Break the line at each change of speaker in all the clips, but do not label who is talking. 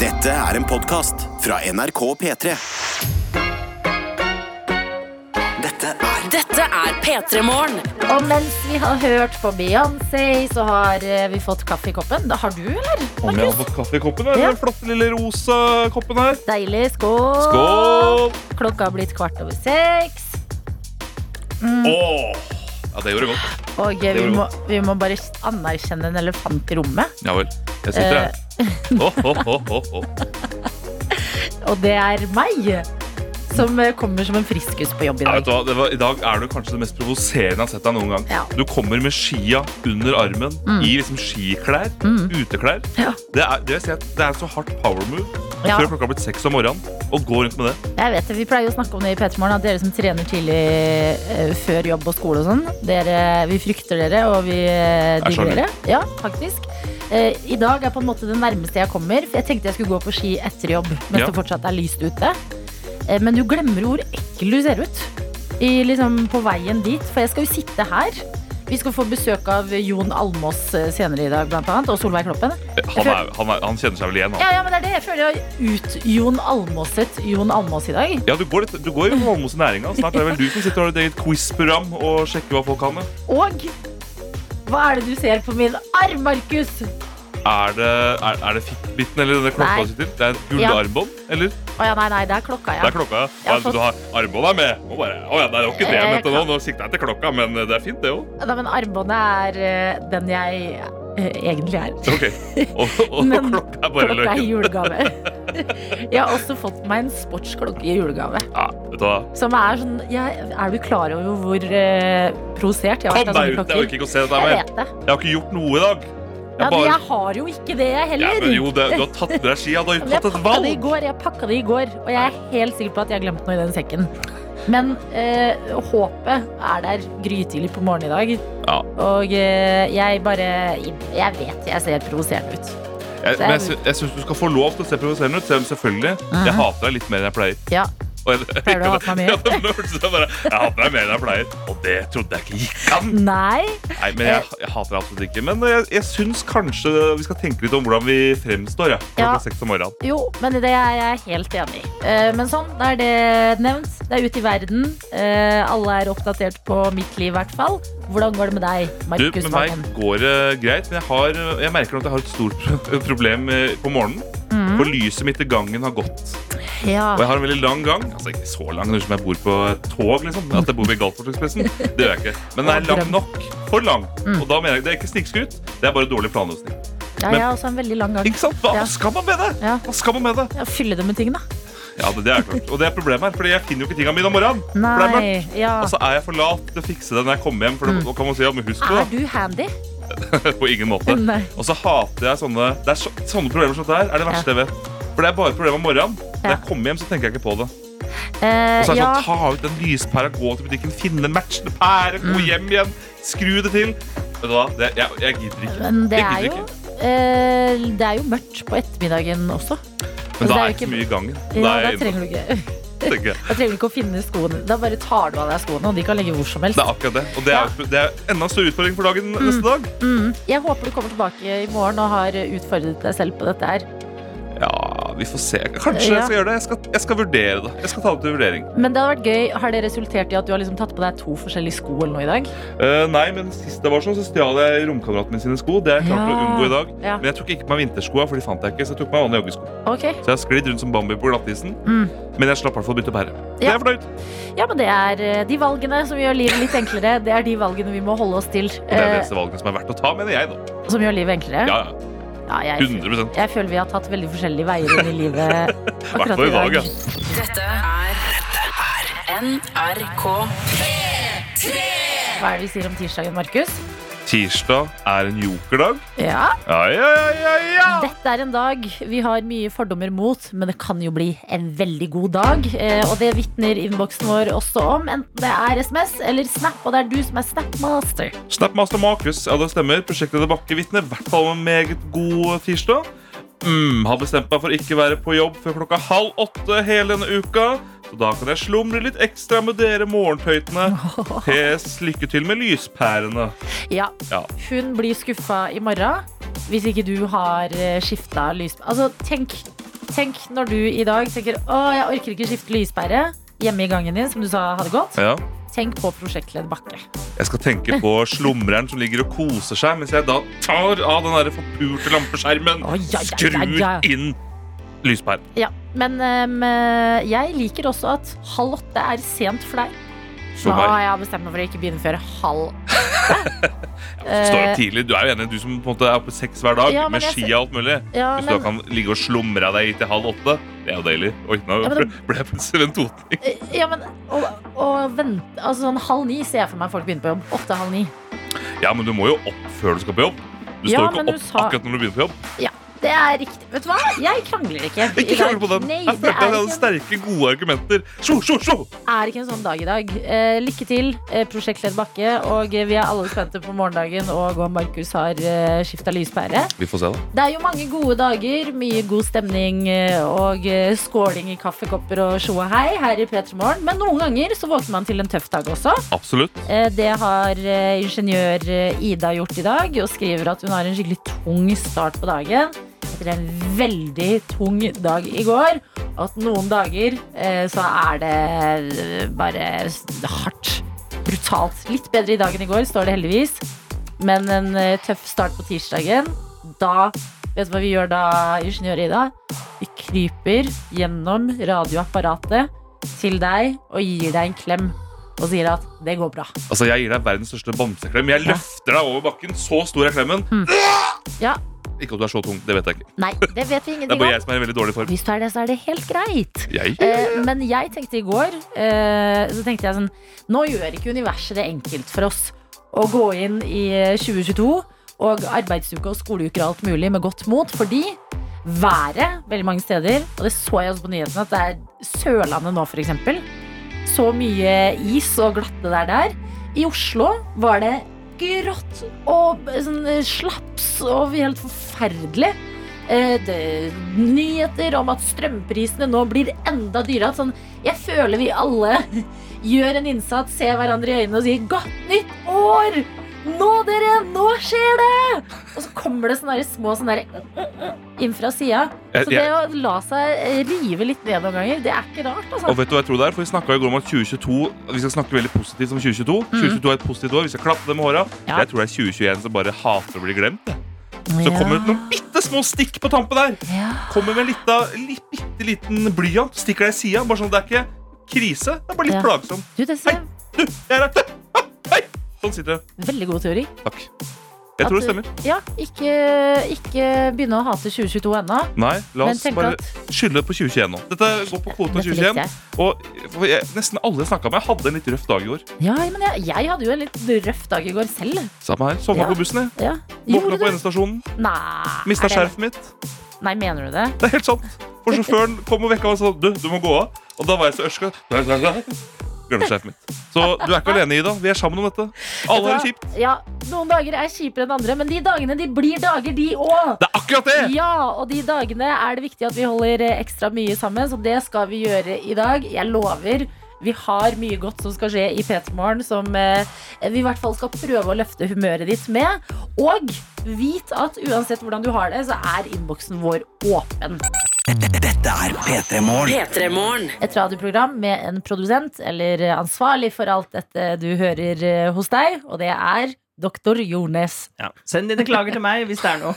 Dette er en podkast fra NRK P3. Dette er
Dette er P3 Morgen.
Og mens vi har hørt på Beyoncé, så har eh, vi fått kaffe i koppen. Det har du, eller?
Om jeg har fått kaffe i koppen? Eller?
Ja.
Den flotte lille rosa koppen her.
Deilig. Skål.
Skål!
Klokka har blitt kvart over seks. Mm.
Åh! Ja, det gjorde godt.
Og eh, vi
Det
må,
var
vi må bare anerkjenne en elefant i rommet.
Ja vel. Jeg sitter her.
Eh.
Åh, åh, åh, åh, åh.
Og det er meg som eh, kommer som en friskus på jobb i
Ja, vet
dag.
du hva? Det var, I dag er du kanskje det mest provoserende jeg har sett deg noen gang.
Ja. Mm.
Du kommer med skia under armen, i liksom skiklær, uteklær.
Ja.
Det, er, det, vil si at det er så hardt power move
Ja.
før klokka har blitt seks om morgenen. Og gå rundt med det.
Jeg vet det, Vi pleier å snakke om det i P3 Morgen, at dere som trener tidlig eh, før jobb og skole og sånn, dere, vi frykter dere, og vi eh,
Jeg sånn.
digger
skjønner.
dere. Ja, faktisk. Eh, I dag er på en måte det nærmeste jeg kommer. For jeg tenkte jeg skulle gå på ski etter jobb mens
Ja.
det fortsatt er lyst ute. Eh, men du glemmer hvor ekkel du ser ut i, liksom, på veien dit. For jeg skal jo sitte her. Vi skal få besøk av Jon Almås eh, senere i dag, blant annet. Og Solveig Kloppen.
Eh, Han, er, han, er, han kjenner seg vel igjen, han.
Ja, ja, men det er det. Jeg føler jeg har ut-Jon Almåset Jon Almås i dag.
Ja, du går, litt, du går jo på Holmos næringa. Snart er det vel du som sitter og har et eget quiz-program og sjekker hva folk kan. ja.
Og hva er det du ser på min arm, Markus?
Er det, er, er det Fitbiten eller denne klokka
Nei.
du sitter? Det er et
Ja.
gullarmbånd, eller?
Å ja, nei, nei, det er klokka,
Det
ja.
er klokka, ja.
Jeg har
ja så
fått-
Du har armbåndet er med. Nå bare, å ja, det er jo ikke det jeg
Eh,
mente nå. Nå sikta jeg til klokka, men eh, det er fint, det òg.
Nei, men armbåndet er eh, den jeg eh, egentlig er.
Ok. Og, og,
Men
klokka er bare
Klokka er
løken.
julegave. Jeg har også fått meg en sportsklokke i julegave.
Ja, vet du hva.
Som er sånn ja, Er du klar over hvor eh, provosert jeg har
Kom
vært av sånne
deg ut! Jeg orker
klokker?
ikke å se deg
Jeg
mer.
vet det.
Jeg har ikke gjort noe i dag.
Ja,
Jeg
men
bare...
jeg har jo ikke det, jeg
Ja,
heller.
men jo, det, du har tatt med deg skia. Du har
Men
jo
Jeg
tatt et
pakka det i
valg.
går, jeg pakka det i går, og jeg er helt sikker på at jeg har glemt noe i den sekken. Men eh, håpet er der grytidlig på morgenen i dag.
Ja.
Og eh, jeg bare Jeg vet jeg ser provoserende ut.
Jeg, men jeg, sy- jeg syns du skal få lov til å se provoserende ut, selv om selvfølgelig jeg hater deg litt mer enn jeg pleier.
Ja.
Og jeg,
Mhm. Pleier du å hate meg mye?
Ja, det ble sånn bare, jeg hater deg mer enn jeg pleier. Og det trodde jeg ikke gikk an.
Nei.
Nei, men jeg,
Eh.
jeg hater absolutt ikke. Men jeg, jeg syns kanskje vi skal tenke litt om hvordan vi fremstår. Ja, klokka
Ja.
seks om morgenen.
Jo, men det er jeg helt enig i. Eh, men sånn, da er det nevnt. Det er ute i verden. Eh, alle er oppdatert på mitt liv, i hvert fall. Hvordan går det med deg,
Du,
Markus
med meg
Vangen?
går det greit, men jeg, har, jeg merker nå at jeg har et stort pro- problem eh, på morgenen.
Mm.
For lyset mitt i gangen har gått.
Ja.
Og jeg har en veldig lang gang. Altså ikke så lang, det er som jeg bor på et tog, liksom. At jeg bor ved Galtvortekspressen. Det gjør jeg ikke. Men den er lang nok. For lang.
Mm.
Og da mener jeg det er ikke snikskryt, det er bare dårlig planløsning.
ja,
men-
jeg har også en veldig lang gang.
Ikke sant? Hva
Ja.
skal man med det?
Ja.
Hva skal man med det?
Ja, Fylle det med ting, da.
Ja, det, det er klart. Og det er problemet her, Fordi jeg finner jo ikke tingene mine om morgenen. For det er mørkt. Altså,
Nei. Ja.
Og så er jeg for lat til å fikse det når jeg kommer hjem. For det, da kan man si, ja, men husk
Er
det,
du handy?
da. På ingen måte.
Nei.
Og så hater jeg sånne Det er så, Sånne problemer som det her er det verste jeg vet. For det er bare problemer om morgenen. Når
Ja.
jeg kommer hjem, så tenker jeg ikke på det. Og
Eh,
så er det
ja,
sånn, ta ut den lyspæra, gå til butikken, finne matchende pære, gå
Mm.
hjem igjen, skru det til. Vet du hva, det, jeg, jeg gidder ikke.
men det
Jeg
er
gidder
jo
ikke.
eh, Det er jo mørkt på ettermiddagen også. altså,
Men da
det er
er
jo
ikke så
ikke-
mye i gangen. Da
Ja,
er
da
jeg inne,
trenger du ikke
tenker jeg.
Da trenger du ikke å finne skoene. Da bare tar du av deg skoene, og de kan ligge hvor som helst.
Det er akkurat det. Og det er, det er enda større utfordring for dagen neste dag.
Mm. Jeg håper du kommer tilbake i morgen og har utfordret deg selv på dette her.
Ja, vi får se. Kanskje
Ja.
jeg skal gjøre det. Jeg skal, jeg skal vurdere det. Jeg skal ta det til vurdering.
Men det hadde vært gøy. Har det resultert i at du har liksom tatt på deg to forskjellige sko eller noe i dag?
Eh, nei, men sist det var sånn, så stjal jeg romkameraten min sine sko. Det har jeg klart å
Ja.
unngå i dag.
Ja.
Men jeg tok ikke på meg vinterskoa, for de fant jeg ikke. Så jeg tok på meg vanlige joggesko.
Ok.
Så jeg har sklidd rundt som Bambi på glattisen.
Mm.
Men jeg slapp i hvert fall å bytte pære. Det
Ja.
er jeg fornøyd.
Ja, men det er eh, de valgene som gjør livet litt enklere. Det er de valgene vi må holde oss til.
Og det er
eh,
de eneste valgene som er verdt å ta, mener jeg, da.
som gjør livet enklere.
Ja, ja.
Ja, jeg,
100 I
jeg føler vi har tatt veldig forskjellige veier inn i livet
hvert fall i dag, ja.
Dette er NRK.
Hva er det vi sier om tirsdagen, Markus?
Tirsdag er en jokerdag.
Ja.
Ja, ja, ja, ja, ja.
Dette er en dag vi har mye fordommer mot, men det kan jo bli en veldig god dag. Eh, og det vitner innboksen vår også om, enten det er SMS eller Snap, og det er du som er Snapmaster.
Snapmaster Markus, ja det stemmer. Prosjektleder Bakke vitner i hvert fall om en meget god tirsdag. Mm, har bestemt meg for ikke være på jobb før klokka halv åtte hele denne uka. Så da kan jeg slumre litt ekstra med dere morgentøytene. PS, lykke til med lyspærene.
Ja,
Ja.
hun blir skuffa i morgen hvis ikke du har skifta lys... eh, Altså, tenk Tenk når du i dag tenker å, jeg orker ikke skifte lyspære hjemme i gangen din, som du sa hadde gått.
Ja.
Tenk på prosjektledd Bakke.
Jeg skal tenke på slumreren som ligger og koser seg, mens jeg da tar av den der forpurte lampeskjermen.
Å, ja, ja, ja,
Skrur
ja.
inn lyspæren.
Ja, men ehm, jeg liker også at halv åtte er sent for deg.
For
Nå har
meg.
jeg bestemt meg for å ikke begynne før halv
Står
eh,
opp tidlig. Du er jo enig, du som på en måte er oppe seks hver dag
Ja, men
med
jeg
ski
ser-
og alt mulig.
Eh, ja,
Hvis du da
men,
kan ligge og slumre deg til halv åtte, det er jo deilig. Oi, nå
Ja, men
ble jeg plutselig en totning.
eh, ja, men å, å vente Altså sånn halv ni ser jeg for meg folk begynner på jobb. Åtte-halv ni.
Ja, men du må jo opp før du skal på jobb.
Ja,
Du står jo
men
ikke
du
opp
sa-
akkurat når du begynner på jobb.
Det er riktig. Vet du hva? Jeg krangler ikke. i
Ikke
dag.
kjør på den.
Nei,
jeg
det
følte at jeg
er
hadde
ikke,
sterke, gode argumenter. Sjo, sjo, sjo!
er ikke en sånn dag i dag. Eh, lykke til, eh, prosjektleder Bakke. Og eh, vi er alle spente på morgendagen og om Markus har eh, skifta lyspære.
Vi får se, da.
Det er jo mange gode dager, mye god stemning eh, og eh, skåling i kaffekopper og tjo og hei her i P3 Morgen. Men noen ganger så våkner man til en tøff dag også.
Absolutt.
Eh, Det har eh, ingeniør eh, Ida gjort i dag, og skriver at hun har en skikkelig tung start på dagen. Etter en veldig tung dag i går. Og at noen dager eh, så er det eh, bare s- hardt. Brutalt. Litt bedre i dag enn i går, står det heldigvis. Men en eh, tøff start på tirsdagen. Da Vet du hva vi gjør da, ingeniør Ida? Vi kryper gjennom radioapparatet til deg og gir deg en klem og sier at det går bra.
Altså, Jeg gir deg verdens største bamseklem. Jeg løfter deg over bakken. Så stor er klemmen.
Hm. Ja,
Ikke at du er så tung, det vet jeg ikke.
Nei, det vet vi
Det er
ingenting
bare
om.
jeg som er i veldig dårlig form.
Hvis du er det, så er det helt greit.
Jeg?
Eh, men jeg tenkte i går eh, Så tenkte jeg sånn Nå gjør ikke universet det enkelt for oss å gå inn i eh, 2022 og arbeidsuke og skoleuker og alt mulig med godt mot, fordi været veldig mange steder, og det så jeg også på nyhetene, at det er Sørlandet nå, f.eks. Så mye is og glatte der der. I Oslo var det grått og eh, sånn eh, slaps og helt forferdelig. Eh, det, nyheter om at strømprisene nå blir enda dyrere. At sånn, jeg føler vi alle gjør en innsats, ser hverandre i øynene og sier 'godt nytt år'! Nå, dere! Nå skjer det! Og så kommer det sånne der små sånne der, inn fra sida. Så
Jeg,
det
Eh, jeg,
å la seg eh, rive litt ned noen ganger, det er ikke rart, altså.
og vet du hva jeg tror det er? For Vi snakka i går om at 2022 Vi skal snakke veldig positivt om 2022. 2022 er et positivt år. Vi skal klappe det med håra.
Mm. Ja.
Jeg tror det er 2021 som bare hater å bli glemt. Så kommer det noen bitte små stikk på tampen der.
ja.
Kommer med en lita, li, bitte liten blyant, stikker deg i sida. Bare sånn, det er ikke krise. Det er bare litt
Ja.
plagsomt.
Du, det ser
Du, jeg er her. Hei! Sånn sitter det.
veldig god teori.
Takk. Jeg tror det
At du-
stemmer.
Ja, ikke, ikke begynne å hate 2022 ennå.
Nei, la
Men
oss
tenk
bare
at
skylde på 2021 nå. Dette går på kvoten av
Dette likte
2021.
jeg.
Og for jeg, nesten alle jeg snakka med, hadde en litt røff dag i år.
Ja, men jeg, jeg hadde jo en litt røff dag i går selv.
Samme her. Sovna
Ja.
på bussen, jeg.
Ja.
Våkna
Gjorde
på
du?
endestasjonen.
Nei.
Mista
er det-
skjerfet mitt.
Nei, mener du det?
Det er helt sant. For sjåføren kom og vekka meg og sa du, du må gå av. Og da var jeg så ørska. Glemte skjerfet mitt. Så du er ikke alene, Ida. Vi er sammen om dette. Alle har det kjipt.
Ja, Noen dager er kjipere enn andre, men de dagene de blir dager, de òg.
Det er akkurat det!
Ja, og de dagene er det viktig at vi holder eh, ekstra mye sammen, så det skal vi gjøre i dag. Jeg lover. Vi har mye godt som skal skje i P3 Morgen, som eh, vi i hvert fall skal prøve å løfte humøret ditt med. Og vit at uansett hvordan du har det, så er innboksen vår åpen.
Dette er P3 Morgen.
P3 Morgen.
et radioprogram med en produsent eller ansvarlig for alt dette du hører eh, hos deg, og det er doktor Jornes.
Ja. Send dine klager til meg hvis det er noe.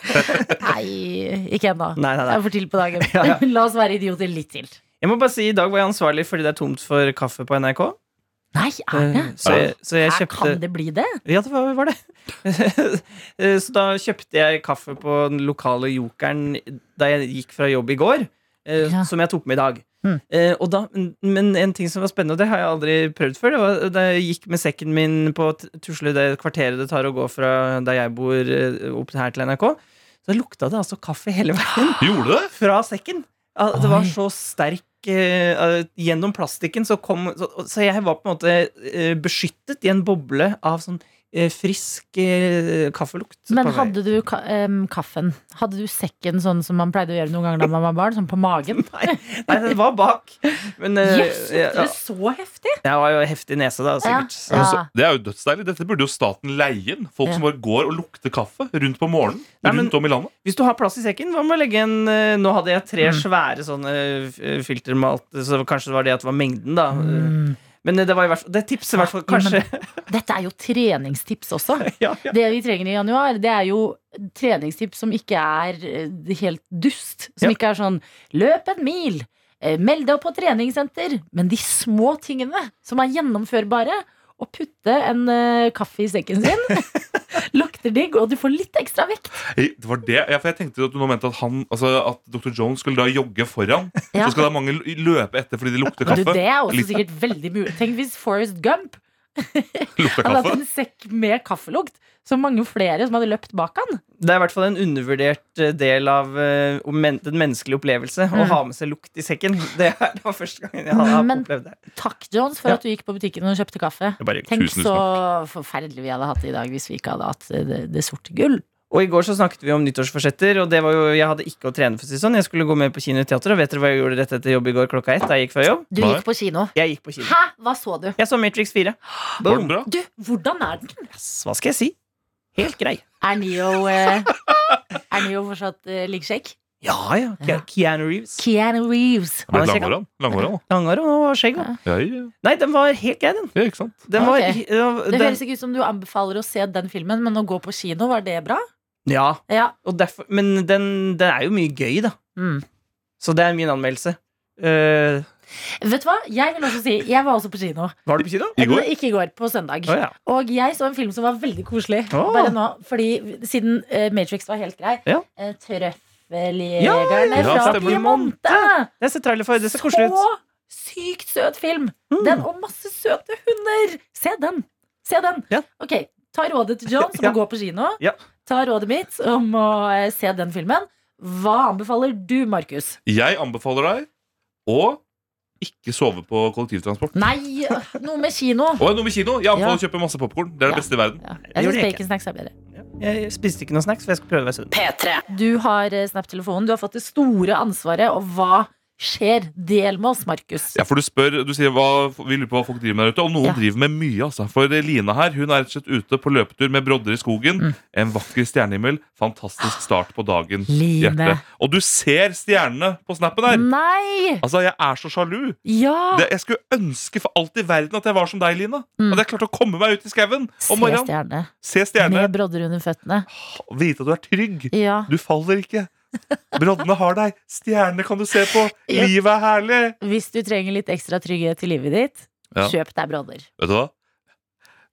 Nei, ikke ennå.
Nei, nei,
Det
nei.
er for tidlig på dagen.
Ja, ja.
La oss være idioter litt til.
Jeg må bare si, I dag var jeg ansvarlig fordi det er tomt for kaffe på NRK.
Nei, er det?
Eh, Så jeg, så jeg
Er-
kjøpte
Kan det bli det?
Ja, det var, var det. Eh, så da kjøpte jeg kaffe på den lokale jokeren da jeg gikk fra jobb i går. eh,
Ja.
Som jeg tok med i dag.
Mm.
Eh, og da, men en ting som var spennende, og det har jeg aldri prøvd før, det var da jeg gikk med sekken min på t- tusle det kvarteret det tar å gå fra der jeg bor, eh, opp her til NRK, så lukta det altså kaffe hele veien.
Gjorde det?
fra sekken. Ja, Det var
Oi.
så sterk eh, eh, Gjennom plastikken så kom Så, så jeg var på en måte eh, beskyttet i en boble av sånn eh, frisk eh, kaffelukt.
Men
på vei.
hadde du ka em, kaffen? Hadde du sekken sånn som man pleide å gjøre noen ganger da man var barn? Sånn på magen?
Nei, den var bak. Men eh,
Jøss,
ja,
det er så heftig!
jeg har jo heftig nese, da, sikkert.
Ja.
Altså, det er jo dødsdeilig. Dette burde jo staten leie inn. Folk
Ja.
som bare går og lukter kaffe rundt på morgenen.
Nei, men-
rundt om i landet.
Hvis du har plass i sekken, hva med å legge en eh, Nå hadde jeg tre
Mm.
svære sånne eh, filter med alt, så kanskje det var det at det var mengden, da. Men eh, det var i hvert fall Det er tipset, i hvert fall.
Mm. Ja, men-
Kanskje.
Dette er jo treningstips også.
Ja, ja.
Det vi trenger i januar, det er jo treningstips som ikke er eh, helt dust. Som
Ja.
ikke er sånn løp en mil, eh, meld deg opp på treningssenter. Men de små tingene som er gjennomførbare. Å putte en eh, kaffe i sekken sin lukter digg, og du får litt ekstra vekt.
Hei, Det var det. Ja, for jeg tenkte at du nå mente at, han, altså, at Dr. Jones skulle da jogge foran.
Ja.
Så skal da mange l- løpe etter fordi de lukter
Du,
kaffe.
det er også
Litt-
sikkert veldig mulig. Tenk hvis Forrest Gump
lukter
hadde hatt
kaffe.
en sekk med kaffelukt. Så mange flere som hadde løpt bak han.
Det er i hvert fall en undervurdert eh, del av eh, om men den menneskelige opplevelse. Å
Mm.
ha med seg lukt i sekken. Det, er, det var første gangen jeg hadde
Men-
opplevd det.
Takk, Jones, for
Ja.
at du gikk på butikken og kjøpte kaffe.
Jeg bare,
Tenk
tusen, tusen
så
takk.
forferdelig vi hadde hatt det i dag hvis vi ikke hadde hatt det, det sorte gull.
Og i går så snakket vi om nyttårsforsetter, og det var jo, jeg hadde ikke å trene. for å si det sånn. Jeg skulle gå med på kino og teater, og vet dere hva jeg gjorde rett etter jobb i går klokka ett? Da jeg gikk fra jobb?
Du
Hva?
gikk på kino.
Jeg gikk på kino.
Hæ? Hva så du?
Jeg så Matrix 4.
Var den
Boom.
bra?
Du, hvordan er den?
Yes, hva skal jeg si? Helt grei.
Er Neo, eh, er Neo fortsatt eh, likeskjegg?
Ja, ja. Ke-
Ja.
Keanu Reeves.
Keanu Reeves.
Han ble
Han er
langhåra. Langhåra, da.
Langhåra og skjegg. også.
Ja, ja,
Nei, den var helt grei, den.
ja, ikke sant?
den, var,
Ok.
ja,
Det
den
høres ikke ut som du anbefaler å se den filmen, men å gå på kino, var det bra?
ja,
Ja.
og derfor, men den, den er jo mye gøy, da.
Mm.
Så det er min anmeldelse. Eh,
Vet du hva? Jeg vil også si, jeg var også på kino.
var du på kino?
I går?
Ikke i går, på søndag.
Å ja.
Og jeg så en film som var veldig koselig.
Åh.
Bare nå, fordi Siden eh, Matrix var helt grei.
Ja.
Eh,
Ja,
Trøffeljegerne
ja,
fra
stemmer.
Piemonte!
Det ser trailer for. Det ser koselig ut.
sykt søt film!
Mm.
Den og masse søte hunder! Se den! Se den!
Ja.
Ok, Ta rådet til John, som
Ja.
må gå på kino.
Ja.
Ta rådet mitt om å eh, se den filmen. Hva anbefaler du, Markus?
Jeg anbefaler deg å ikke sove på kollektivtransport.
Nei, noe med kino!
Og noe med kino. Jeg anbefaler å kjøpe masse popkorn. Det
Ja.
er det beste i verden.
Ja,
Det
jeg
gjorde
syns
jeg ikke.
baconsnacks er bedre.
Jeg spiste ikke noe snacks, for jeg skal prøve å være sunn.
P3.
Du har eh, Snap-telefonen, du har fått det store ansvaret, og hva skjer? Del med oss, Markus.
Ja, for du spør, du sier hva, vi lurer på hva folk driver med der ute Om noen
Ja.
driver med mye, altså For Lina her, hun er rett og slett ute på løpetur med brodder i skogen
Mm.
En vakker stjernehimmel Fantastisk start på dagen hjerte. Og du ser stjernene på snappen
Mm.
her
Nei!
Altså, jeg er så sjalu
Ja!
det, Jeg skulle ønske for alt i verden at jeg var som deg, Lina
Mm.
At jeg klarte å komme meg ut i skaven
Se
om morgenen
stjerne.
Se stjerne,
Med brodder under føttene.
vite at du er trygg
Ja.
Du faller ikke Broddene har deg, stjernene kan du se på
Ja.
Livet er herlig
Hvis du trenger litt ekstra trygghet i livet ditt,
Ja.
kjøp deg brodder.
Vet du hva?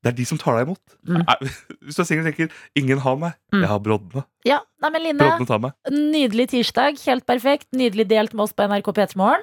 Det er de som tar deg imot.
Mm.
Nei, Hvis du er singel, tenker 'ingen har meg',
Mm.
jeg har broddene.
Ja, nei, men Line,
Broddene tar meg.
nydelig tirsdag. Helt perfekt. Nydelig delt med oss på NRK P3 Morgen.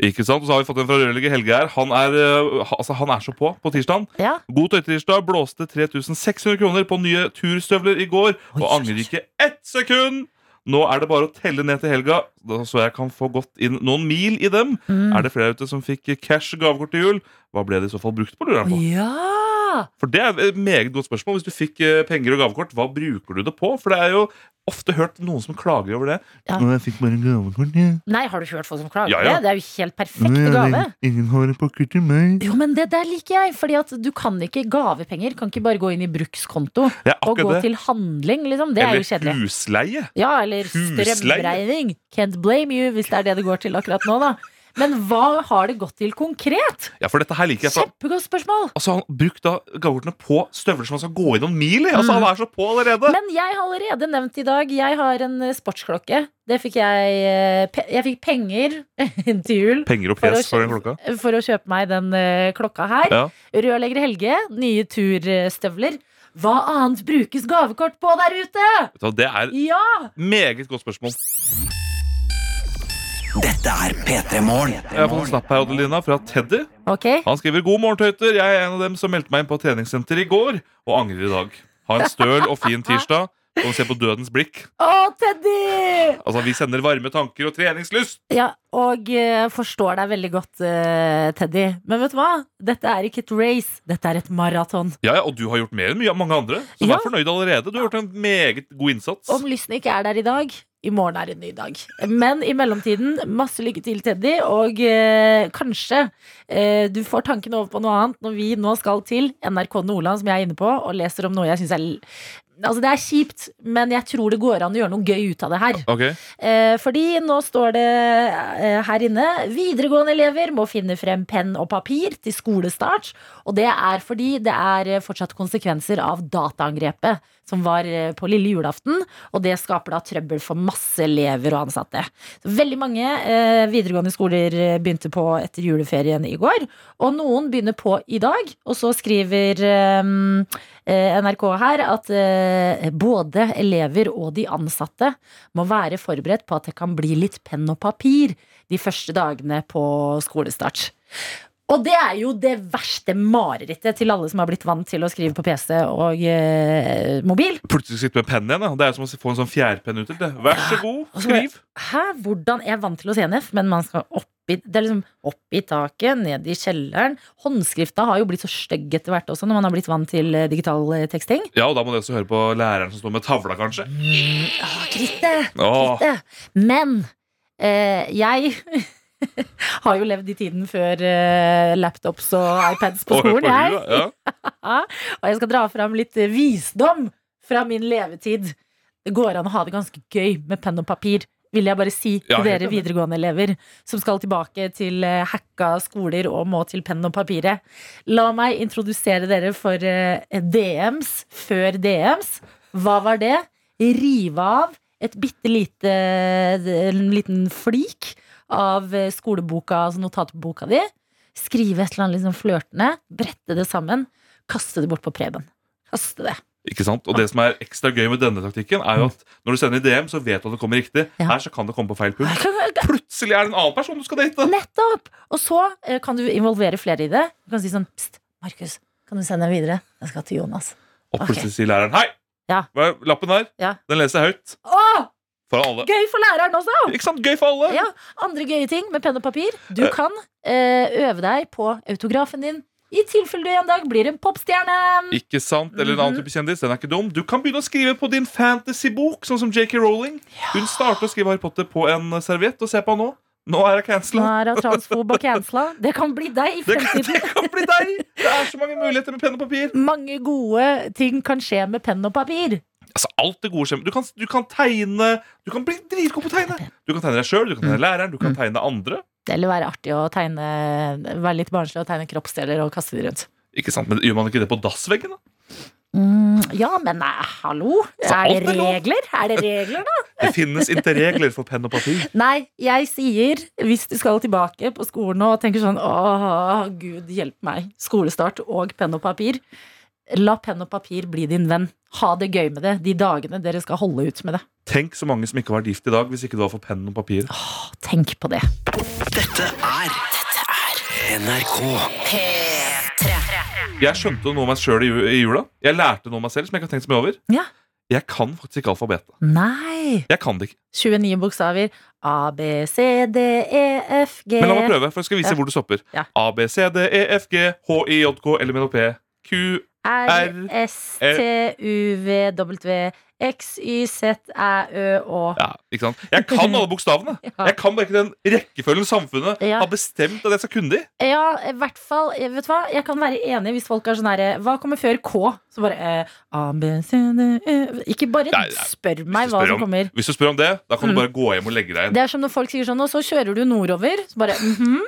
Ikke sant? Og så har vi fått en fra rørlegger Helge her. Han er, øh, ha- altså, han er så på på tirsdagen.
Ja.
God tøytirsdag blåste 3600 kroner på nye turstøvler i går, og
oi,
angrer ikke ett sekund! Nå er det bare å telle ned til helga, da- så jeg kan få gått inn noen mil i dem.
Mm.
Er det flere ute som fikk cash gavekort til jul? Hva ble det i så fall brukt på, lurer jeg på?
Ja!
For det er et meget godt spørsmål. Hvis du fikk eh, penger og gavekort, hva bruker du det på? For det er jo ofte hørt noen som klager over det.
Ja.
«Å, Jeg fikk bare gavekort, jeg.
Nei, har du ikke hørt folk som klager
Ja,
på
ja.
det? Det er jo helt
Å,
perfekt
jeg-
gave.
Ingen har en pakke til meg.
Jo, men det der liker jeg, fordi at du kan ikke gavepenger. Kan ikke bare gå inn i brukskonto
Det er
og gå
akkurat det.
til handling, liksom. Det er jo kjedelig.
Eller husleie.
Ja, eller
Husleie.
strømregning. Can't blame you, hvis det er det det går til akkurat nå, da. Men hva har det gått til konkret?
Ja, for dette her liker jeg. For,
Kjempegodt spørsmål!
altså, han brukte da gavekortene på støvler som han skal gå i noen mil i. Altså, han er så på allerede.
Men jeg har allerede nevnt i dag, jeg har en eh, sportsklokke. Det fikk jeg eh, pe- Jeg fikk penger til jul
Penger og
For å
pes for den
kjø-
klokka.
for å kjøpe meg den eh, klokka her.
Ja.
Rørlegger Helge, nye turstøvler. Hva annet brukes gavekort på der ute?
Vet du hva, Det er
Ja!
meget godt spørsmål.
Dette er P3 Morgen.
Jeg har fått en snapp her Adelina, fra Teddy.
Ok.
Han skriver God morgen, tøyter. Jeg er en av dem som meldte meg inn på treningssenter i går og angrer i dag. Ha en støl og fin tirsdag. Kan du se på dødens blikk.
Å, Teddy!
Altså, Vi sender varme tanker og treningslyst.
Ja, og eh, forstår deg veldig godt, eh, Teddy. Men vet du hva? Dette er ikke et race, dette er et maraton.
Ja, ja, Og du har gjort mer enn mye av mange andre. Så
Ja.
vær fornøyd allerede. Du har gjort en meget god innsats.
Om lysten ikke er der i dag, i morgen er en ny dag. Men i mellomtiden, masse lykke til, Teddy. Og eh, kanskje eh, du får tankene over på noe annet når vi nå skal til NRK Nordland, som jeg er inne på, og leser om noe jeg syns er l- Altså, det er kjipt, men jeg tror det går an å gjøre noe gøy ut av det her.
Ok,
Eh, fordi nå står det eh, her inne Videregående elever må finne frem penn og papir til skolestart. Og det er fordi det er eh, fortsatt konsekvenser av dataangrepet som var eh, på lille julaften. Og det skaper da trøbbel for masse elever og ansatte. Veldig mange eh, videregående skoler eh, begynte på etter juleferien i går. Og noen begynner på i dag. Og så skriver eh, eh, NRK her at eh, både elever og de ansatte må være forberedt på at det kan bli litt penn og papir de første dagene på skolestart. Og det er jo det verste marerittet til alle som har blitt vant til å skrive på PC og eh, mobil.
Plutselig sitter du med penn igjen. da. Det er som å få en sånn fjærpenn ut til det. Vær så god, skriv.
Hæ, hvordan? Jeg er vant til å se NF, men man skal opp i, det er liksom opp i taket, ned i kjelleren. Håndskrifta har jo blitt så stygg etter hvert også, når man har blitt vant til eh, digital eh, teksting.
Ja, og da må du også høre på læreren som står med tavla, kanskje.
Å, Kritte!
Åh,
det. Men eh, jeg har jo levd i tiden før eh, laptops og iPads på
og hør
skolen, jeg.
du, ja.
Og jeg skal dra fram litt eh, visdom fra min levetid. Det går an å ha det ganske gøy med penn og papir. Vil jeg bare si
Ja,
til
helt
dere videregående elever som skal tilbake til eh, hacka skoler og må til penn og papiret. La meg introdusere dere for eh, DMs før DMs. Hva var det? Rive av et bitte lite eh, en liten flik av eh, skoleboka, altså notatboka di. Skrive et eller annet liksom flørtende. Brette det sammen. Kaste det bort på Preben. Kaste det.
Ikke sant? Og det som er ekstra gøy med denne taktikken, er jo at når du sender i DM, så vet du at det kommer riktig.
Ja.
Her så kan det komme på feil pult. Plutselig er det en annen person du skal date.
Nettopp! Og så eh, kan du involvere flere i det. Du kan si sånn Pst, Markus, kan du sende den videre? Den skal til Jonas.
Og plutselig sier læreren hei!
Ja.
Hva er lappen her?
Ja.
Den leser jeg høyt.
Å!
For alle.
Gøy for læreren også!
Ikke sant? Gøy for alle!
Ja, Andre gøye ting med penn og papir. Du kan eh, øve deg på autografen din i tilfelle du en dag blir en popstjerne.
Ikke sant? Eller en annen type kjendis. Den er ikke dum. Du kan begynne å skrive på din fantasybok, sånn som JK Rowling. Hun starter å skrive Harry Potter på en serviett, og se på han nå. Nå er jeg
Nå
cancela.
er hun transfob og cancela. Det kan bli deg i
Det kan,
fremtiden.
det kan bli deg! Det er så mange muligheter med penn og papir.
Mange gode ting kan skje med penn og papir.
Altså, alt det gode skjer. Du kan, du kan tegne. Du kan bli dritgod på å tegne. Du kan tegne deg sjøl, du kan
Mm.
tegne læreren, du kan tegne andre.
Eller være artig å tegne Være litt barnslig og tegne kroppsdeler og kaste de rundt.
Ikke sant, Men Gjør man ikke det på dassveggen? da?
Mm, ja, men nei, hallo?
Så
Er
alt
det
er lov.
regler? Er det regler, da?
Det finnes interregler for penn og papir.
Nei, jeg sier hvis du skal tilbake på skolen og tenker sånn Åh, gud hjelpe meg. Skolestart og penn og papir. La penn og papir bli din venn. Ha det gøy med det de dagene dere skal holde ut med det.
Tenk så mange som ikke var gift i dag hvis ikke det var for penn og papir.
Åh, Tenk på det.
Dette er NRK.
Jeg skjønte noe om meg sjøl i ju- i jula. Jeg lærte noe om meg selv som jeg ikke har tenkt så mye over.
Ja.
Jeg kan faktisk ikke alfabetet.
Nei!
Jeg kan det ikke.
29 bokstaver. A, B, C, D, E, F, G
Men la meg prøve, for jeg skal vise
Ja.
hvor du stopper.
Ja.
A, B, C, D, E, F, G, H, I, J, K, L, M, N, O, P, Q,
R, S, T, U, V, W, X, Y, Z, Æ, Ø og
Ja, ikke sant? Jeg kan alle bokstavene.
Ja.
Jeg kan bare ikke den rekkefølgen samfunnet
Ja.
har bestemt at jeg skal kunne de.
Ja, i hvert fall. eh, Vet du hva? Jeg kan være enig hvis folk er sånn herre Hva kommer før K? Så bare eh, A, B, C, D, E Ikke bare
Nei, nei,
spør meg
du
hva
spør
som
om-
kommer.
Hvis du spør om det, da kan
Mm.
du bare gå hjem og legge
Det
deg inn.
er som når folk sier sånn, og så kjører du nordover. Så bare mhm.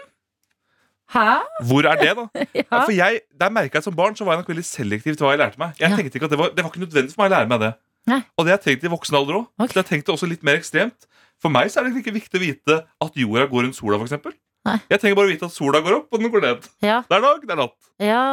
Hæ?
Hvor er det, da? Ja,
Ja.
for jeg, der merket jeg Som barn så var jeg nok veldig selektiv til hva jeg lærte meg. Jeg
Ja.
tenkte ikke at Det var, det var ikke nødvendig for meg å lære meg det.
Nei.
Og det har jeg tenkt i voksen alder òg.
Ok.
Så jeg tenkte også litt mer ekstremt. For meg så er det egentlig ikke viktig å vite at jorda går rundt sola, for eksempel
Nei.
Jeg trenger bare å vite at sola går opp, og den går ned.
Ja.
Det er dag, det er natt.
Ja.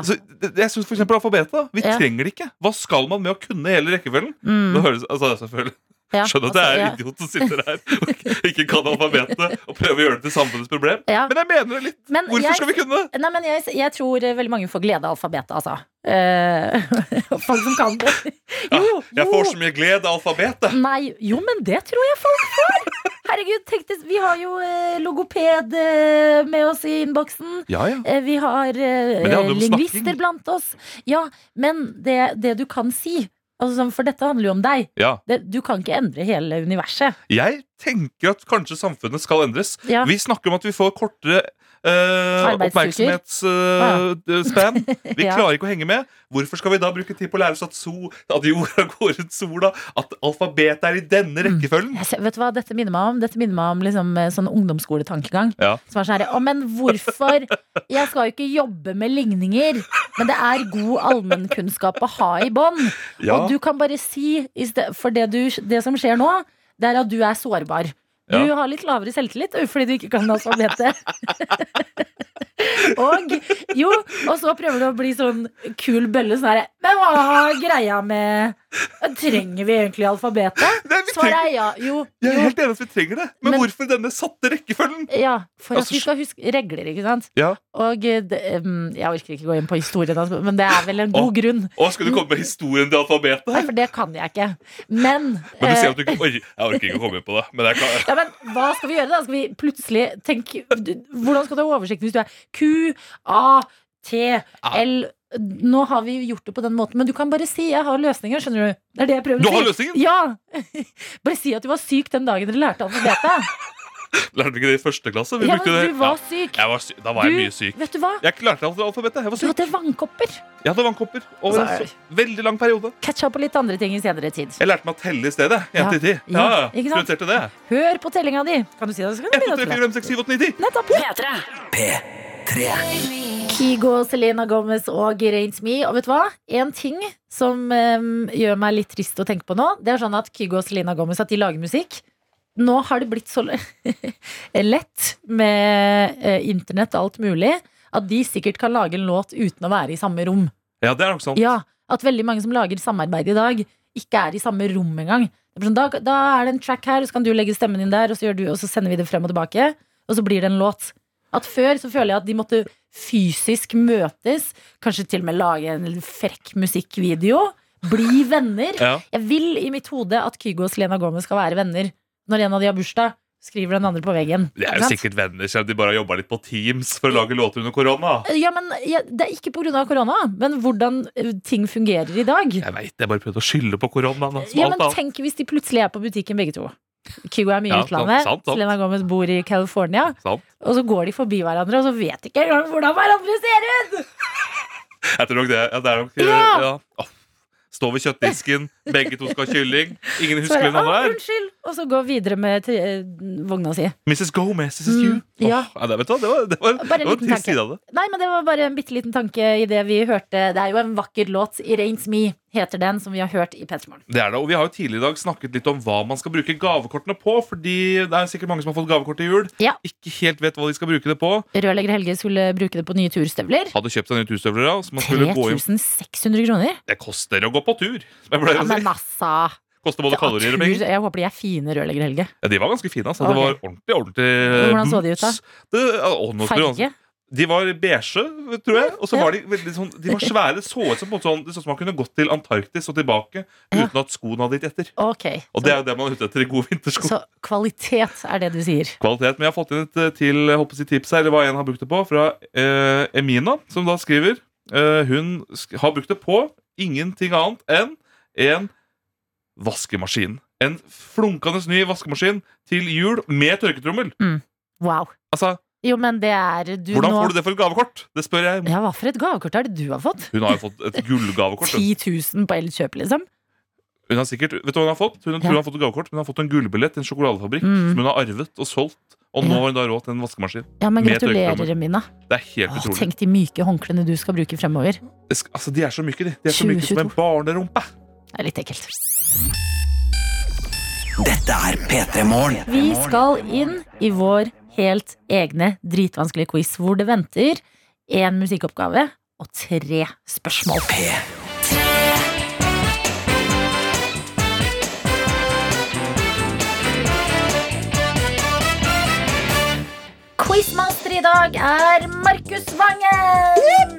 Så det- jeg synes for eksempel alfabetet. da. Vi
Ja.
trenger det ikke. Hva skal man med å kunne hele rekkefølgen?
Mm.
Nå høres, altså, selvfølgelig
Ja,
Skjønner at jeg
altså,
er
ja.
idiot som sitter her og ikke kan alfabetet og prøver å gjøre det til samfunnets problem.
Ja.
Men jeg mener det litt.
Men
Hvorfor
jeg-
skal vi kunne det?
Nei, men jeg, jeg tror eh, veldig mange får glede av alfabetet, altså. Eh, folk som kan det. Jo, jo.
Jeg får så mye glede av alfabetet.
Nei, jo, men det tror jeg folk får! Herregud, tenk deg, vi har jo eh, logoped eh, med oss i innboksen.
Ja, ja.
Eh, Vi har
Men det
eh,
handler om
lingvister
snakking.
blant oss. Ja, men det, det du kan si altså, sånn, For dette handler jo om deg.
ja.
Det, du kan ikke endre hele universet.
Jeg tenker at kanskje samfunnet skal endres.
Ja.
Vi snakker om at vi får kortere eh,
Arbeidsuker.
oppmerksomhetsspan. vi
Ja.
klarer ikke å henge med. Hvorfor skal vi da bruke tid på å lære oss at, so, at jorda går rundt sola? At alfabetet er i
Mm.
denne rekkefølgen?
Jeg ser, vet du hva dette minner meg om? Dette minner meg om liksom, eh, sånn ungdomsskoletankegang.
Ja.
Som er sånn her, å, men hvorfor? Jeg skal jo ikke jobbe med ligninger, men det er god allmennkunnskap å ha i bånd.
Ja.
Og du kan bare si, i sted- for det, du, det som skjer nå, det er at du er sårbar. Du
Ja.
har litt lavere selvtillit ø, fordi du ikke kan alfabetet. og jo, og så prøver du å bli sånn kul bølle. Sånn her, men hva er greia med Trenger vi egentlig alfabetet?
Nei, vi
Svaret
trenger,
er ja. Jo,
jeg er
jo
helt enig at vi trenger det, men,
Men-
hvorfor denne satte rekkefølgen?
ja, for at
Altså,
vi skal huske regler, ikke sant?
Ja.
Og eh, det, em, jeg orker ikke gå inn på historien, hans, men det er vel en god
Å.
grunn.
Å, skal du komme med historien til alfabetet?
Nei,
her?
for det kan jeg ikke. Men,
Men du
eh,
ser at du ikke orker Jeg orker ikke å komme inn på det, men jeg kan
ja, men hva skal vi gjøre, da? Skal vi plutselig tenke Hvordan skal du ha oversikt hvis du er Q, A, T, L Nå har vi gjort det på den måten, men du kan bare si 'jeg har løsninger', skjønner du. Det er det jeg prøver
Du
å si.
har løsningen!
Ja! Bare si at du var syk den dagen dere lærte alfabetet.
Lærte du ikke det i første klasse? Vi
Ja,
brukte det.
men du var
Ja,
syk.
jeg var sy da var jeg
Du-
mye syk.
Vet du hva?
Jeg klarte alt alfabetet. Jeg var
Du
syk.
hadde vannkopper.
Jeg hadde vannkopper over en
Altså,
så- veldig lang periode.
Catcha på litt andre ting i senere tid.
Jeg lærte meg å telle i stedet.
Ja.
1 til 10. Ja,
Ja,
ja.
ikke sant?
Prioriterte det.
Hør på tellinga di. Kan du si det? Så kan du
1, 2,
begynne å telle.
3, 4, 5, 6, 7, 8, 9, 10.
Nettopp.
P3.
Kygo, Selena Gomez og Rains Me. Og vet du hva? En ting som em, gjør meg litt trist å tenke på nå, det er sånn at Kygo og Selena Gomez at de lager musikk. Nå har det blitt så le- lett med eh, internett og alt mulig at de sikkert kan lage en låt uten å være i samme rom.
Ja, det er nok sånn. sant.
Ja, At veldig mange som lager samarbeid i dag, ikke er i samme rom engang. Det er sånn, Da, da er det en track her, og så kan du legge stemmen din der, og så, gjør du, og så sender vi det frem og tilbake. Og så blir det en låt. At Før så føler jeg at de måtte fysisk møtes, kanskje til og med lage en frekk musikkvideo. Bli venner.
Ja.
Jeg vil i mitt hode at Kygo og Selena Gomez skal være venner. Når en av de har bursdag, skriver den andre på veggen.
De er
Ikke
jo
sant?
sikkert venner, selv om de bare har jobba litt på Teams for å lage låter under korona.
ja, men, ja, Det er ikke pga. korona, men hvordan eh, ting fungerer i dag.
Jeg veit, jeg bare prøvde å skylde på koronaen. da, som
Ja,
alt
men
annet.
tenk hvis de plutselig er på butikken begge to. Kygo er mye i
Ja,
utlandet.
sant, sant, sant.
Selena Gomez bor i California.
Sant.
Og så går de forbi hverandre, og så vet de ikke engang hvordan hverandre ser ut!
Jeg tror nok det. Ja, det er nok, eh,
Ja.
ja. Åh. Stå ved kjøttdisken, begge to skal ha kylling. Ingen
Så er
husker hvem
det,
han
«Å,
er.
unnskyld! Og så går videre med til, eh, vogna si.
Mrs. Gomez, this is you. Åh,
Mm, ja.
ja, det, vet du, hva, det var, det var,
Bare
det
en
var
liten
en trist
tanke.
side av det.
Nei, men det var bare en bitte liten tanke i det vi hørte. Det er jo en vakker låt. 'It Rains Me' heter den, som vi har hørt i P3 Morgen.
Det er det, og Vi har jo tidligere i dag snakket litt om hva man skal bruke gavekortene på. Fordi det er sikkert mange som har fått gavekort til jul.
Ja.
Ikke helt vet hva de skal bruke det på.
Rørlegger Helge skulle bruke det på nye turstøvler.
Hadde kjøpt seg nye turstøvler, da. Så man skulle gå inn.
3600 kroner?
Det koster å gå på tur. Jeg pleier
Ja,
å si.
men altså!
Koster både kalorier og penger.
Jeg håper de er fine, Rørlegger Helge.
Ja, de var ganske fine. altså.
Ok.
Det var ordentlig ordentlig eh,
Hvordan så de ut, da?
boots. Det, å, nå skulle jeg-
Farge.
De var beige, tror jeg. Og så
Ja.
var de veldig sånn De var svære. Så ut som på en sånn, det så ut som man kunne gått til Antarktis og tilbake
Ja.
uten at skoene hadde gitt etter.
Ok.
Og det er jo det man er ute etter i gode vintersko.
Så kvalitet er det du sier.
kvalitet. Men jeg har fått inn et eh, til jeg håper å si, tips her, eller hva en har brukt det på, fra eh, Emina, som da skriver eh, Hun sk har brukt det på ingenting annet enn en vaskemaskin. En flunkende ny vaskemaskin til jul med tørketrommel.
Wow.
Altså,
Jo, men det er du
Hvordan
nå
får du det for et gavekort? Det spør jeg.
Ja, Hva for et gavekort er det du har fått?
Hun har jo fått et
10
gullgavekort. hun.
000 på Elkjøp, liksom?
Hun har sikkert, vet du hva hun har fått? Hun tror hun har fått et gavekort, men hun har fått en gullbillett til en sjokoladefabrikk
Mm.
som hun har arvet og solgt. Og nå har hun da råd til en vaskemaskin.
Ja, men
Med
gratulerer,
tørketrommel.
Mina.
Det er helt
Åh,
utrolig.
tenk de myke håndklærne du skal bruke fremover.
Det sk- Altså, De er så myke, de. De er så myke som en
2022.
barnerumpe.
Det er litt ekkelt.
Dette er P3 Morgen.
Vi skal inn i vår helt egne dritvanskelige quiz, hvor det venter én musikkoppgave og tre spørsmål.
P3.
Quizmaster i dag er Markus Vangen.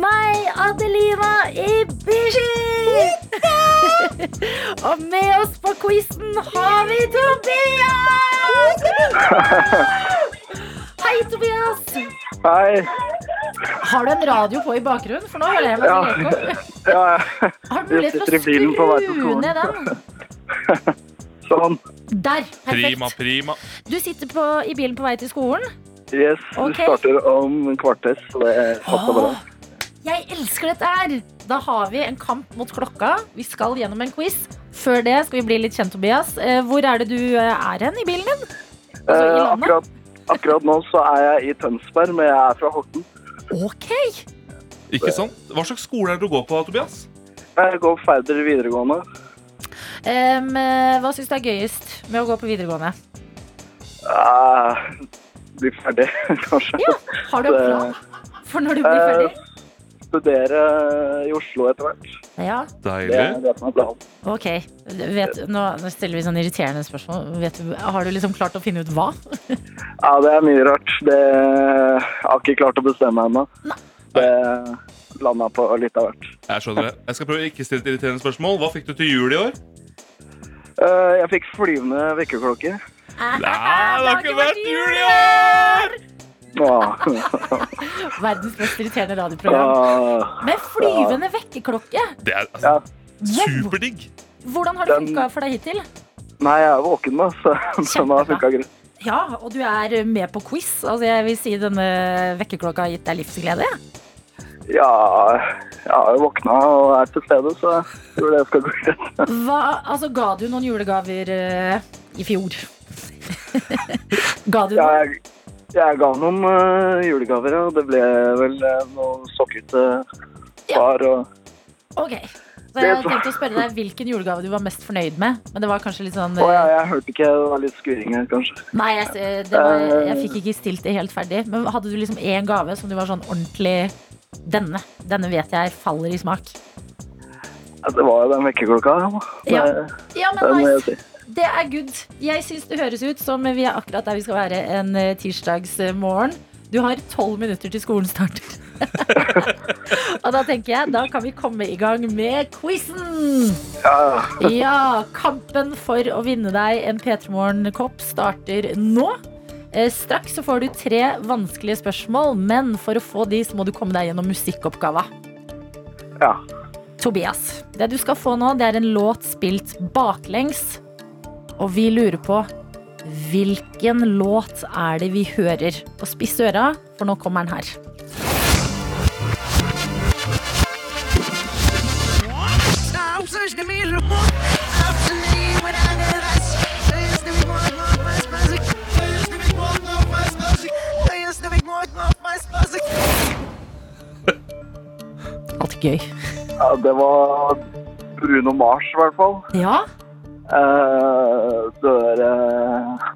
Meg, Adelina Ibishi. Og med oss på quizen har vi Tobias. Hei, Tobias.
Hei.
Har du en radio på i bakgrunnen? For nå hører jeg meg
Ja.
så lek om.
Ja,
Har du mulighet til
sitter i
å
bilen på vei til
skru
skolen.
ned den?
sånn.
Der.
Prima,
Perfekt.
prima.
Du sitter på, i bilen på vei til skolen.
Yes,
Ok.
du starter om en kvarter, så det passer bra.
Åh, jeg elsker dette her! Da har vi en kamp mot klokka. Vi skal gjennom en quiz. Før det skal vi bli litt kjent, Tobias. Eh, Hvor er det du eh, er hen i bilen din? Altså, i
Eh,
landet?
akkurat, akkurat nå så er jeg i Tønsberg, men jeg er fra Horten.
Ok!
Ikke sant? Hva slags skole er det du går på, Tobias?
Jeg går ferdig videregående.
Em, eh, hva syns du er gøyest med å gå på videregående?
Eh, blir ferdig, kanskje.
Ja, Har du en plan for når du blir
Eh,
ferdig?
studere i Oslo etter hvert.
Ja,
Det er
Deilig.
det som er planen.
ok. Vet, nå, nå stiller vi sånn irriterende spørsmål. Vet du, har du liksom klart å finne ut hva?
Ja, det er mye rart. Det jeg har ikke klart å bestemme meg ennå. Det landa på litt av hvert.
Jeg skjønner det. Jeg skal prøve å ikke stille et irriterende spørsmål. Hva fikk du til jul i år?
Eh, jeg fikk flyvende vekkerklokker.
Nei, det har ikke vært jul i år!
Ah.
Verdens mest irriterende radioprogram.
Ah.
Med flyvende vekkerklokke!
Det er altså,
Ja.
Wow.
superdigg.
Hvordan har det
Den-
funka for deg hittil?
Nei, jeg er våken, da, så den har funka greit.
Ja, og du er med på quiz. Altså, jeg vil si denne vekkerklokka har gitt deg livsglede. jeg.
Ja, jeg har jo våkna og er til stede, så jeg tror det skal gå greit.
Hva, altså, ga du noen julegaver eh, i fjor? ga du noen?
Jeg, jeg ga noen eh, julegaver, og det ble vel eh, noen sokker til far. Og,
Ok. Så jeg
Det
hadde
var-
tenkt å spørre deg hvilken julegave du var mest fornøyd med. Men det var kanskje litt sånn
og jeg,
eh,
jeg hørte ikke, det var litt skuring her, kanskje.
Nei, jeg, eh, det var,
Eh.
jeg fikk ikke stilt det helt ferdig. Men hadde du liksom én gave som du var sånn ordentlig Denne. Denne vet jeg faller i smak.
Ja, Det var jo den vekkerklokka. Ja.
Ja,
Det-
Ja,
det
men
må jeg
nice.
si.
Det er good. Jeg syns det høres ut som vi er akkurat der vi skal være en eh, tirsdagsmorgen. Du har tolv minutter til skolen starter. Og da tenker jeg, da kan vi komme i gang med quizen.
Ja, ja.
Ja, kampen for å vinne deg en P3 Morgen-kopp starter nå. Eh, Straks så får du tre vanskelige spørsmål, men for å få de så må du komme deg gjennom musikkoppgava.
ja.
Tobias, det du skal få nå, det er en låt spilt baklengs. Og vi lurer på hvilken låt er det vi hører? Og spiss øra, for nå kommer den her. Alltid gøy.
ja, det var Bruno Mars, i hvert fall.
Ja,
Eh, det var eh,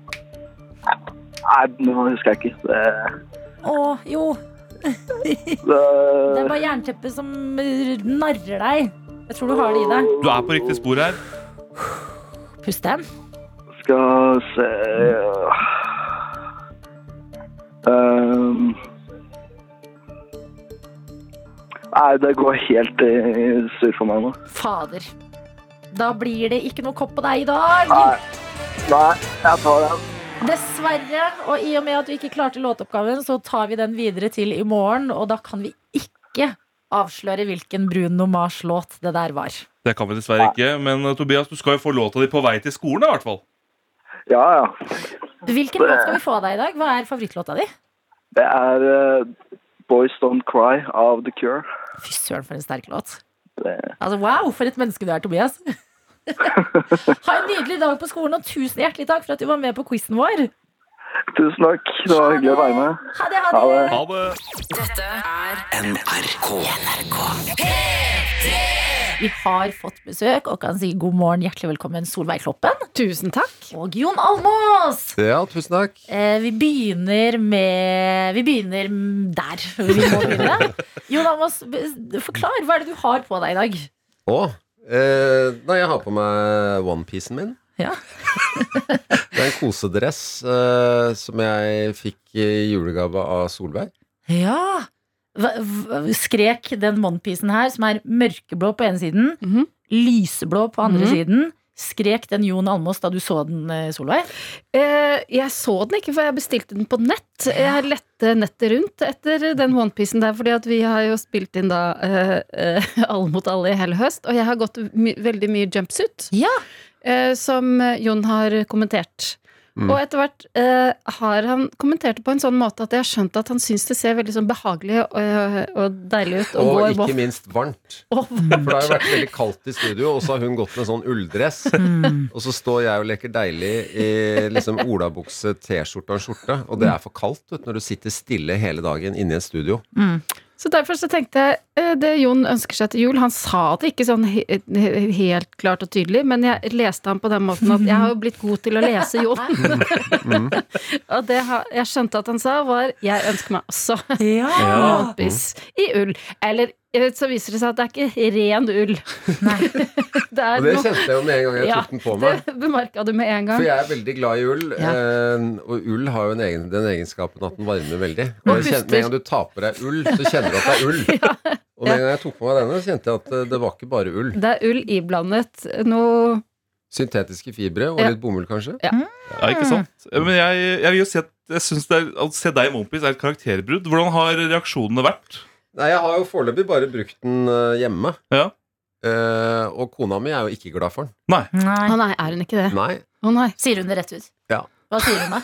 Nei, nå husker jeg ikke. Det,
og jo. Det
det,
er bare jernteppet som narrer deg. Jeg tror du har det i deg.
Du er på riktig spor her.
Pust den.
Skal se Ehm. Nei, det går helt i surr for meg nå.
Fader. Da blir det ikke noe kopp på deg i dag.
Nei. Nei, jeg tar den.
Dessverre. Og i og med at du ikke klarte låteoppgaven, så tar vi den videre til i morgen. Og da kan vi ikke avsløre hvilken Bruno Mars-låt det der var.
Det kan vi dessverre ikke, men eh, Tobias, du skal jo få låta di på vei til skolen. i hvert fall
Ja, ja.
Hvilken låt skal vi få av deg i dag? Hva er favorittlåta di?
Det er eh, Boys Don't Cry av The Cure.
Fy søren, for en sterk låt.
Det-
Altså, Wow, for et menneske du er, Tobias. ha en nydelig dag på skolen, og tusen hjertelig takk for at du var med på quizen vår.
Tusen takk. Det var hyggelig å være med.
Ha det, ha
Ha
det.
det.
Ha det.
Dette er
NRK.
Vi har fått besøk og kan si god morgen, hjertelig velkommen Solveig Kloppen.
Tusen takk.
Og Jon Almås.
Ja, tusen takk.
Eh, vi begynner med Vi begynner der. Vi må begynne. Jon Amos, be- forklar. Hva er det du har på deg i dag?
Å, eh, nei, jeg har på meg onepiecen min.
Ja.
Det er en kosedress eh, som jeg fikk i julegave av Solveig.
Ja! Hva, hva, skrek den onepiecen her, som er mørkeblå på ene siden,
Mhm.
lyseblå på andre
Mhm.
siden. Skrek den Jon Almås da du så den, eh, Solveig?
Eh, jeg så den ikke, for jeg bestilte den på nett. Jeg lette nettet rundt etter den onepiecen der, fordi at vi har jo spilt inn da eh, eh, Alle mot alle i hele høst, og jeg har gått my veldig mye jumpsuit.
Ja.
eh, som Jon har kommentert.
Mm.
Og etter hvert eh, har han kommentert det på en sånn måte at jeg har skjønt at han syns det ser veldig sånn behagelig og, og deilig ut å
Og
gå i
ikke
våff.
minst varmt.
Og
For det har jo vært veldig kaldt i studio, og så har hun gått med sånn ulldress. Og så står jeg og leker deilig i liksom olabukse, T-skjorte og en skjorte. Og det er for kaldt vet, du, når du sitter stille hele dagen inne i et studio.
Så derfor så tenkte jeg eh, det Jon ønsker seg til jul Han sa det ikke sånn he he- helt klart og tydelig, men jeg leste han på den måten at jeg har jo blitt god til å lese Jon.
Mm.
og det ha- jeg skjønte at han sa, var 'jeg ønsker meg også
Ja!
håndpiss i ull'. Eller eh, så viser det seg at det er ikke ren ull. det er
Og det
noe
kjente jeg jo med en gang jeg
Ja,
tok den på meg.
Det bemerka du med en
For
gang.
jeg er veldig glad i ull,
Ja.
eh, og ull har jo en egen, den egenskapen at den varmer veldig. Og jeg kjenner, med en gang du tar på deg ull, så kjenner du at det er ull. Og med en gang jeg tok på meg denne, så kjente jeg at eh, det var ikke bare ull.
Det er ull iblandet noe
Syntetiske fibre og
Ja.
litt bomull, kanskje.
Ja, ikke
Hmm.
sant? Men jeg, jeg vil jo si at jeg synes det er, å se deg i Mumpis er et karakterbrudd. Hvordan har reaksjonene vært?
Nei, jeg har jo foreløpig bare brukt den eh, hjemme.
Ja.
Eh, og kona mi er jo ikke glad for den.
Å
Nei.
nei, er hun ikke det?
Nei.
Å nei.
Sier hun det rett ut?
Ja.
Hva sier hun da?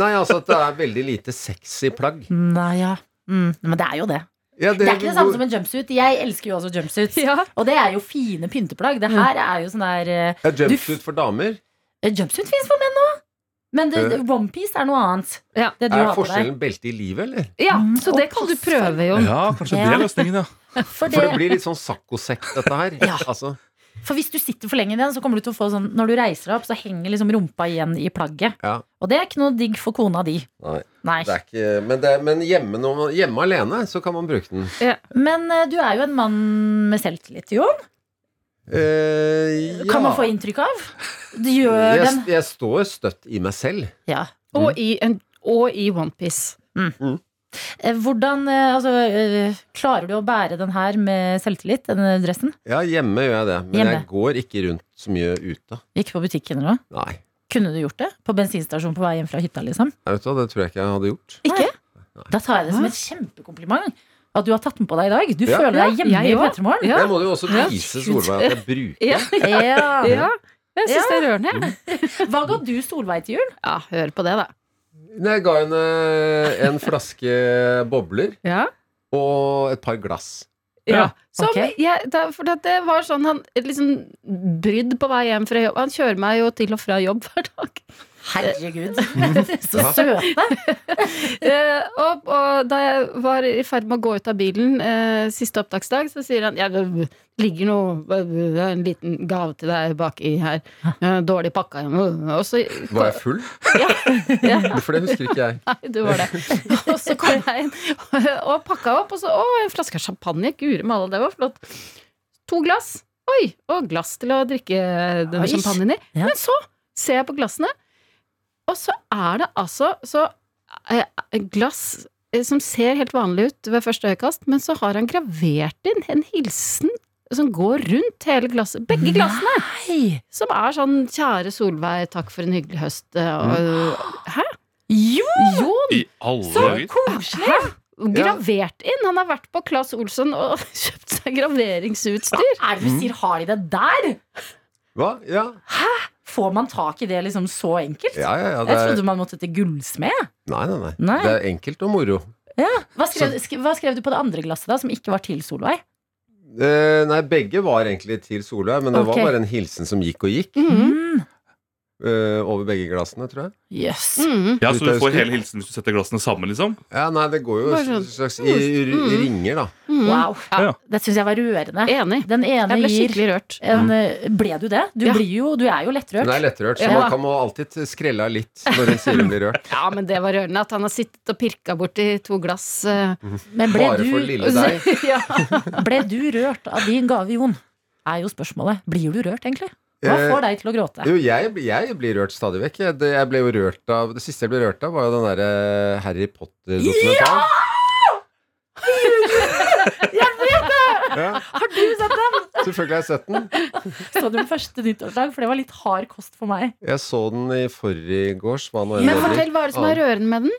Nei, altså at det er veldig lite sexy plagg.
Nei, ja. Mm, men det er jo det.
Ja,
Det er ikke det samme som en jumpsuit. Jeg elsker jo også jumpsuits.
Ja.
Og det er jo fine pynteplagg. Det her er jo sånn der eh,
Ja, jumpsuit for damer.
Jumpsuit fins for menn nå! Men det- det- onepiece er noe annet.
Ja.
Det du
Eh. Er
har på deg.
forskjellen belte i livet, eller?
Ja,
Mm,
så
og
det kan du
passer.
prøve, Jon.
Ja, kanskje det
Ja.
er løsningen, ja.
For,
For det
det,
blir litt sånn saccosekk, dette her.
Ja.
Altså,
for hvis du sitter for lenge i den, så kommer du til å få sånn Når du reiser deg opp, så henger liksom rumpa igjen i plagget.
Ja.
Og det er ikke noe digg for kona di.
nei,
Nei.
det er ikke, men det, men hjemme, nå- hjemme alene så kan man bruke den.
Men eh, du er jo en mann med selvtillit, Jon.
Eh, ja.
Kan man få inntrykk av? Du gjør
jeg,
den
jeg står støtt i meg selv.
Ja.
Og i, en- og i onepiece.
Eh, Hvordan eh, altså, eh, Klarer du å bære den her med selvtillit, denne dressen?
Ja, hjemme gjør jeg det. Men jeg
Hjemme.
går ikke rundt så mye ute.
Ikke på butikken eller noe?
Nei.
Kunne du gjort det? På bensinstasjonen på vei hjem fra hytta, liksom?
Nei, vet du hva, det tror jeg ikke jeg hadde gjort.
Ikke?
Da tar jeg det som et kjempekompliment. At du har tatt den på deg i dag. Du
Ja.
føler deg
Ja,
hjemme
jeg
i
også.
Petremorgen.
Det må du jo også
Ja.
vise Solveig at jeg bruker.
Ja,
Ja.
ja. Jeg syns det er rørende. jeg.
Hva ga du Solveig til jul?
Ja, hør på det, da.
Nei, Jeg ga henne en flaske bobler
Ja.
og et par glass.
Ja. Som
Ok.
jeg, da, for det, det var sånn han liksom brydd på vei hjem fra jobb. Han kjører meg jo til og fra jobb hver dag.
Herregud, så
Ja.
søte!
Eh, og, og da jeg var i ferd med å gå ut av bilen eh, siste opptaksdag, så sier han ja, det ligger noe, det er en liten gave til deg baki her. Eh, Dårlig pakka. Og så
Var jeg full?
ja,
For det husker ikke jeg.
Nei, du var det. Og så kom jeg inn og pakka opp, og så Å, en flaske champagne. Guri malla, det var flott. To glass. Oi! Og glass til å drikke denne
Oi.
champagnen i.
Ja.
Men så ser jeg på glassene, og så er det altså så eh, glass eh, som ser helt vanlig ut ved første øyekast, men så har han gravert inn en hilsen som går rundt hele glasset. Begge glassene!
Hei!
Som er sånn 'Kjære Solveig, takk for en hyggelig høst'. eh,
Mm.
Og, Hæ?
Jo,
Jon!
I alle
Sånn. Så
dager.
koselig! Gravert inn! Han har vært på Claes Olsson og kjøpt seg graveringsutstyr.
er det
Mm.
du sier har de det der?
Hva? Ja,
Får man tak i det liksom så enkelt?
ja, ja. ja det
Jeg
er,
trodde man måtte til gullsmed.
nei, nei, nei.
Nei.
Det er enkelt og moro.
Hva, skrev- sk- hva skrev du på det andre glasset, da, som ikke var til Solveig?
Eh, nei, begge var egentlig til Solveig, men det
Ok.
var bare en hilsen som gikk og gikk
Mm.
eh, over begge glassene, tror jeg.
Yes.
Mm.
Ja, Så du
Ute
får
øyeskudd.
hele hilsen hvis du setter glassene sammen? liksom
Ja, nei, det går jo
Bare sånn.
en slags i, i, i ringer, da.
Mm.
Wow.
Ja.
Det syns jeg var rørende.
Enig.
Den ene
Jeg ble
gir
skikkelig rørt.
en, eh, Ble du det? Du,
Ja.
blir jo, du er jo lettrørt.
Hun er lettrørt, så
Ja.
man kan må alltid skrelle av litt når hun sier hun blir rørt.
Ja, men det var rørende at han har sittet og pirka borti to glass. eh.
Men ble
Bare
du,
for lille deg.
ja.
ble du rørt av din gave, Jon? Er jo spørsmålet. Blir du rørt, egentlig? Hva
Eh,
får deg til å gråte?
Jo, jeg, jeg blir rørt stadig vekk. Jeg, det, jeg ble jo rørt av, det siste jeg ble rørt av, var jo den derre eh, Harry Potter-dokumentaren. Jeg vet det! Har du sett den? Selvfølgelig har jeg sett den.
Så du den første nyttårsdag? For det var litt hard kost for meg.
Jeg så den i forgårs. hva nå enn
Men
det blir.
fortell, hva er det som er rørende med den?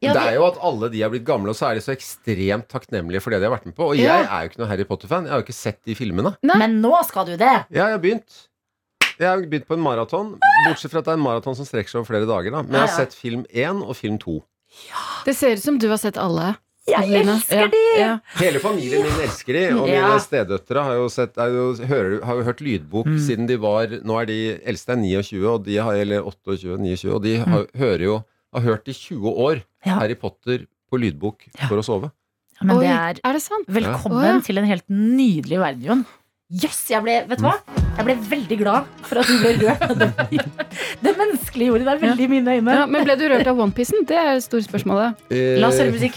Ja,
det
det-
er jo at alle de har blitt gamle, og så er de så ekstremt takknemlige for det de har vært med på. Og
Ja.
jeg er jo ikke noen Harry Potter-fan. Jeg har jo ikke sett de filmene.
Nei.
Men nå skal du det!
Ja, jeg har begynt. Jeg har begynt på en maraton. Bortsett fra at det er en maraton som strekker seg over flere dager. da Men jeg har
Ja, ja.
sett film én og film to.
Det ser ut som du har sett alle.
Jeg
Lina. Ja,
elsker de!
ja.
Hele familien min elsker de, og
Ja.
mine stedøtre har jo, sett, er jo, hører, har jo hørt lydbok siden de var Nå er de eldste er 29, og de har, eller 28, 29, og de har, hører jo har hørt i 20 år
Ja.
Harry Potter på lydbok for å sove.
Ja, Men
Oi,
det er
er det sant?
Velkommen
Ja. Å, ja.
til en helt nydelig verden, Jon. Jøss, jeg ble Vet du hva? Jeg ble veldig glad for at du ble rørt. av Det, det menneskelige ordet. Det er veldig i mine øyne.
Ja, men ble du rørt av OnePiecen? Det er det store spørsmålet.
La
Eh,
oss høre musikk.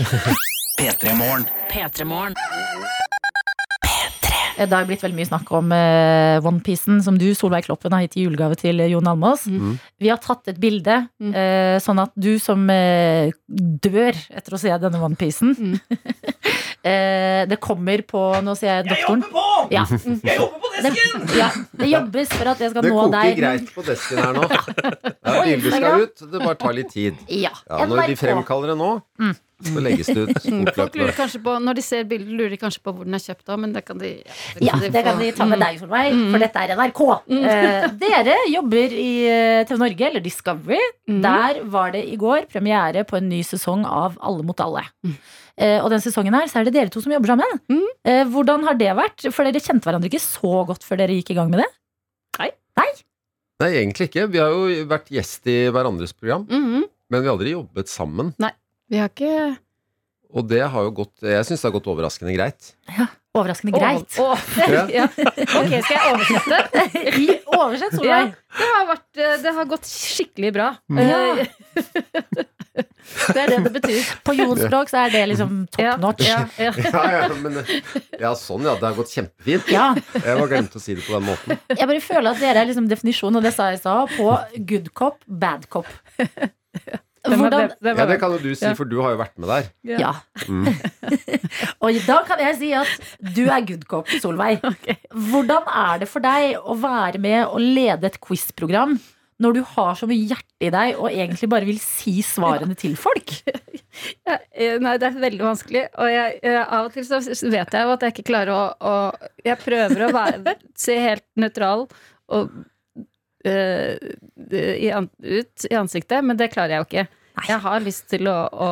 P3 Morgen.
P3morgen.
Eh, Det har blitt veldig mye snakk om eh, OnePiecen, som du, Solveig Kloppen, har gitt i julegave til eh, Jon Almaas.
Mm.
Vi har tatt et bilde,
Mm.
eh, sånn at du som eh, dør etter å se denne OnePiecen
Mm.
eh, Det kommer på Nå sier jeg doktoren.
på!
Ja.
Jeg jobber på
Det, ja, det jobbes for at jeg skal
det
nå
koker
deg.
greit på desken her nå. Ja, Bilder skal ut, det bare tar litt tid.
Ja,
Ja, når de
NRK.
fremkaller det nå, så legges det ut
Folk lurer
fortløpende.
kanskje på, Når de ser bildet, lurer de kanskje på hvor den er kjøpt av, men det kan de, Mm.
Ja, det kan
få.
vi ta med deg, Solveig, for dette er NRK.
Mm.
Eh, dere jobber i eh, TV Norge, eller Discovery.
Mm.
Der var det i går premiere på en ny sesong av Alle mot alle. Eh, og den sesongen her, så er det dere to som jobber sammen.
Mm.
Eh, hvordan har det vært? For dere kjente hverandre ikke så godt før dere gikk i gang med det.
Nei, egentlig ikke. Vi har jo vært gjest i hverandres program,
Mhm.
men vi har aldri jobbet sammen.
Vi har ikke
Og det har jo gått Jeg syns det har gått overraskende greit.
Overraskende greit.
Å, å,
Ja.
ja. Ok, skal jeg oversette?
I- Oversett,
Ja,
Solveig.
det, har vært, eh, det har gått skikkelig bra.
Mm.
Ja.
Eh, Det er det det betyr.
På Jons språk så er det liksom
Ja,
top notch.
ja, ja.
Ja, ja, men, ja sånn, ja. Det har gått kjempefint.
Ja,
Jeg bare glemte å si det på den måten.
jeg bare føler at dere er liksom definisjonen, og det sa jeg i stad, på good cop, bad cop.
Den var-
Hvordan,
den
Ja,
var-
Det kan jo du si, for du har jo vært med der.
Ja.
Mm.
og da kan jeg si at du er good cop, Solveig. Hvordan er det for deg å være med og lede et quiz-program når du har så mye hjerte i deg og egentlig bare vil si svarene til folk?
Ja, eh, Nei, det er veldig vanskelig. Og jeg, eh, av og til så s- vet jeg jo at jeg ikke klarer å, å Jeg prøver å være, se helt nøytral og eh, i, an- ut i ansiktet, men det klarer jeg jo ikke. Jeg har lyst til å, å,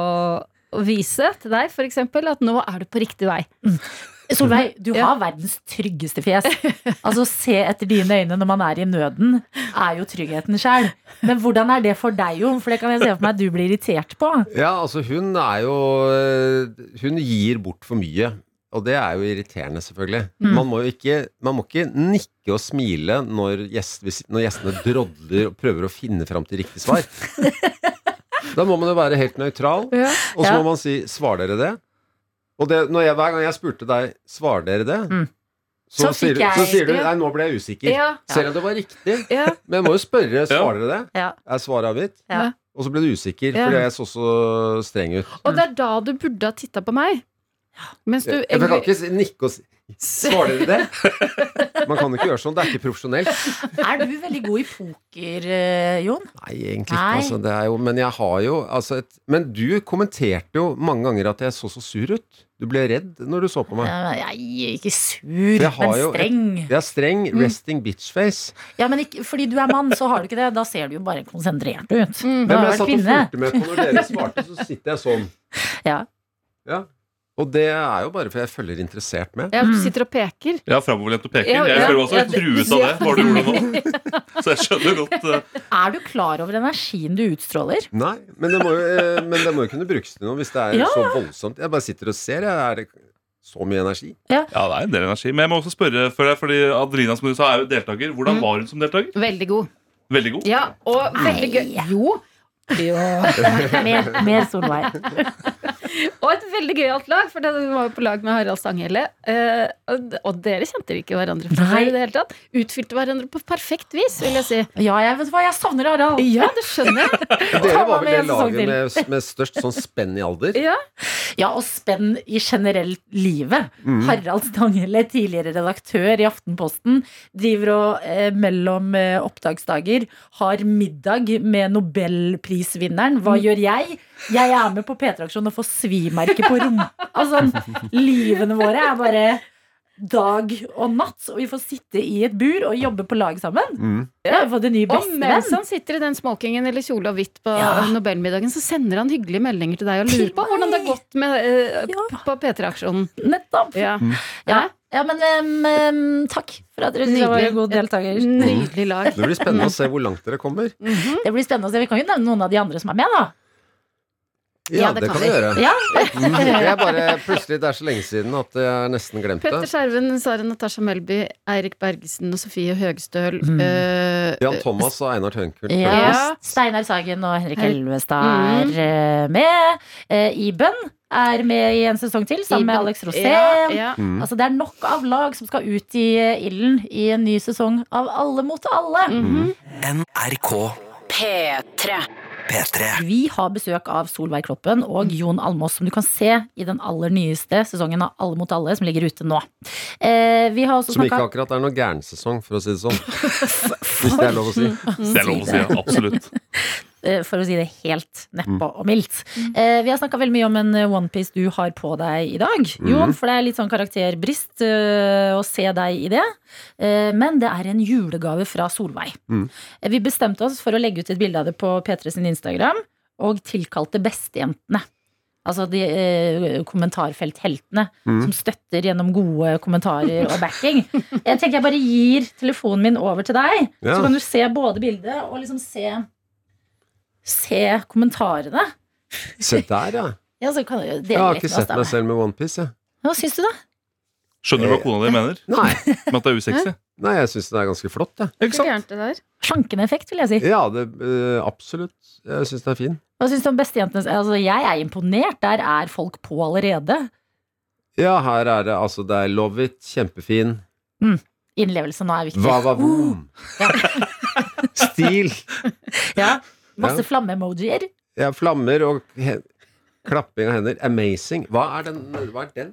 å vise til deg f.eks. at nå er du på riktig vei.
Solveig, du
Ja.
har verdens tryggeste fjes. Altså, se etter dine øyne når man er i nøden, er jo tryggheten sjæl. Men hvordan er det for deg, Jon? For det kan jeg se for meg at du blir irritert på.
Ja, altså hun er jo eh, Hun gir bort for mye. Og det er jo irriterende, selvfølgelig.
Mm.
Man, må jo ikke, man må ikke nikke og smile når, gjest, hvis, når gjestene drodler og prøver å finne fram til riktig svar. da må man jo være helt nøytral,
Ja.
og så
Ja.
må man si 'svar dere det'? Og det, når jeg, hver gang jeg spurte deg 'svar dere det',
Mm.
så,
Så
sier,
fikk
du- så
jeg-
sier du
ja.
'nei, nå ble jeg usikker'.
Ja,
Selv om det var riktig.
ja.
Men jeg må jo spørre 'svar dere det'?
Ja.
Er svaret avgitt?
Ja.
Og så ble du usikker,
Ja.
fordi jeg så så streng ut.
Og det er da du burde ha titta på meg. Mens du
Mm. Jeg jeg kan ikke si- nikke og si Svarer dere det? Man kan ikke gjøre sånn. Det er ikke profesjonelt.
Er du veldig god i poker, eh, Jon?
Nei, egentlig ikke.
Nei.
Altså, det er jo, men jeg har jo altså et, Men du kommenterte jo mange ganger at jeg så så sur ut. Du ble redd når du så på meg.
Eh, Jeg er ikke sur,
Jeg har
men
jo et-
streng.
Jeg er streng.
Mm.
Resting bitch-face.
Ja, men ikke, fordi du er mann, så har du ikke det. Da ser du jo bare konsentrert ut. Du har
Hvem jeg
Mm.
vært
satt og
kvinne.
fulgte med på når dere svarte, så sitter jeg sånn.
Ja.
Ja. Og det er jo bare fordi jeg følger interessert med.
Ja, du sitter og
Jeg
peker.
har framoverlent og peker.
Ja,
Jeg
ja,
føler meg også
ja,
litt
det-
truet av det. Var det ordet nå? Så jeg skjønner godt eh,
Er du klar over energien du utstråler?
Nei, men det må jo, eh, men det må jo kunne brukes til noe hvis det er
Ja,
så voldsomt. Jeg bare sitter og ser. Jeg er det så mye energi?
Ja, det er en del energi. Men jeg må også spørre, for det, er fordi Adelina som du sa, er jo deltaker. Hvordan
Mm.
var hun som deltaker?
Veldig god.
Veldig god.
Ja, og veldig gøy. Jo.
Mer, mer Solveig.
Og et veldig gøyalt lag, for den var jo på lag med Harald Stanghelle. Eh, og- og dere kjente ikke hverandre fra
Nei.
før i det hele tatt. Utfylte hverandre på perfekt vis, vil jeg si.
Ja, jeg vet hva, jeg savner Harald.
Ja, det skjønner jeg.
Dere var
med
vel det
en sånn sesong
laget med, med størst sånn spenn i alder?
Ja.
Ja, og spenn i generelt livet. Harald Stanghelle, tidligere redaktør i Aftenposten, driver og eh, mellom eh, opptaksdager har middag med nobelprisvinneren. Hva gjør jeg? Jeg er med på P3-aksjonen og får svimerke på rom. Altså, livene våre er bare dag og natt, og vi får sitte i et bur og jobbe på lag sammen.
Mm.
Jeg har fått en ny
Og mens
bestevenn.
han sitter i den smokingen eller kjole og hvitt på
Ja.
Nobelmiddagen, så sender han hyggelige meldinger til deg og lurer på hvordan det har gått med, eh,
Ja.
på P3-aksjonen.
Nettopp.
Ja.
Mm.
Ja, ja men em, em, takk for at dere syntes jeg var en god deltaker.
Nydelig lag. Mm-hmm.
Det blir spennende å se hvor langt dere kommer.
Det blir spennende å se. Vi kan jo nevne noen av de andre som er med, da.
Ja, det, kan vi gjøre.
Ja,
Mm. Jeg bare, plutselig, Det er så lenge siden at jeg nesten glemte
Petter
det.
Skjerven, Sara Natasha Melby, Eirik Bergesen og Sofie Høgstøl.
Mm.
eh,
Jan Thomas og Einar Tønkult.
ja. Steinar Sagen og Henrik
Hei. Mm.
Elvestad er eh, med. Eh, Iben er med i en sesong til, sammen med
Iben-
Alex Rosén.
Ja, ja.
Mm.
Altså, det er nok av lag som skal ut i eh, ilden i en ny sesong av Alle mot alle.
Mhm.
NRK
P3.
P3.
Vi har besøk av Solveig Kloppen
Mm.
og Jon Almås, som du kan se i den aller nyeste sesongen av Alle mot alle, som ligger ute nå. Eh, vi har også
Som ikke
snakka
akkurat er noen gærensesong, for å si det sånn. Hvis det er lov å si.
Det er lov å si. ja. Absolutt.
eh, for å si det helt nedpå og mildt. Eh, vi har snakka veldig mye om en eh, onepiece du har på deg i dag, Jon. For det er litt sånn karakterbrist eh, å se deg i det. Eh, men det er en julegave fra Solveig.
Mhm.
Eh, vi bestemte oss for å legge ut et bilde av det på P3 sin Instagram, og tilkalte Bestejentene. Altså de eh, kommentarfeltheltene
Mm.
som støtter gjennom gode kommentarer og backing. Jeg tenker jeg bare gir telefonen min over til deg,
Ja.
så kan du se både bildet og liksom se se kommentarene.
Se der, ja.
Ja, så kan du jo dele
Jeg har
litt
ikke
med oss,
sett
da.
meg selv med onepiece, jeg.
Hva syns du, da?
Skjønner du hva kona di mener?
Nei.
Med at det er usexy?
Nei, jeg syns det er ganske flott, jeg.
Ikke
Så
sant?
gærent det der.
Slankende effekt, vil jeg si.
Ja, det, eh, absolutt. Jeg syns den er fin.
Hva syns du om bestejentenes Altså, jeg er imponert. Der er folk på allerede.
Ja, her er det altså Det er love it, kjempefin.
Innlevelse nå er viktig.
Vavavoom. Stil.
Ja. Masse
Ja.
flamme-emojier.
Ja, flammer og he klapping av hender. Amazing. Hva er den? Hva er den?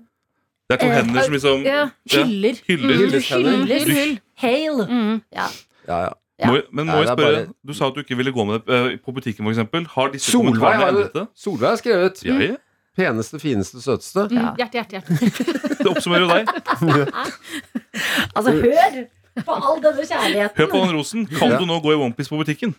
Det er to
Eh,
hender som liksom
Ja.
Hyller.
hyller.
Hyller.
Hyll,
Hyller.
hyll, hyll.
Hail.
Mm.
Ja, ja.
Ja.
Må, jeg- men må
Nei,
jeg
det er
spørre,
bare-
du sa at du ikke ville gå med det eh, på butikken, for eksempel. Har disse
Solveig
kommentarene
har,
endret det?
Solveig har skrevet
Ja, ja.
Peneste, fineste, søteste.
Mm. Hjerte, hjerte, hjerte.
Det oppsummerer jo deg.
Altså, hør på all denne kjærligheten.
Hør på den rosen. Kan
Ja.
du nå gå i onepiece på butikken?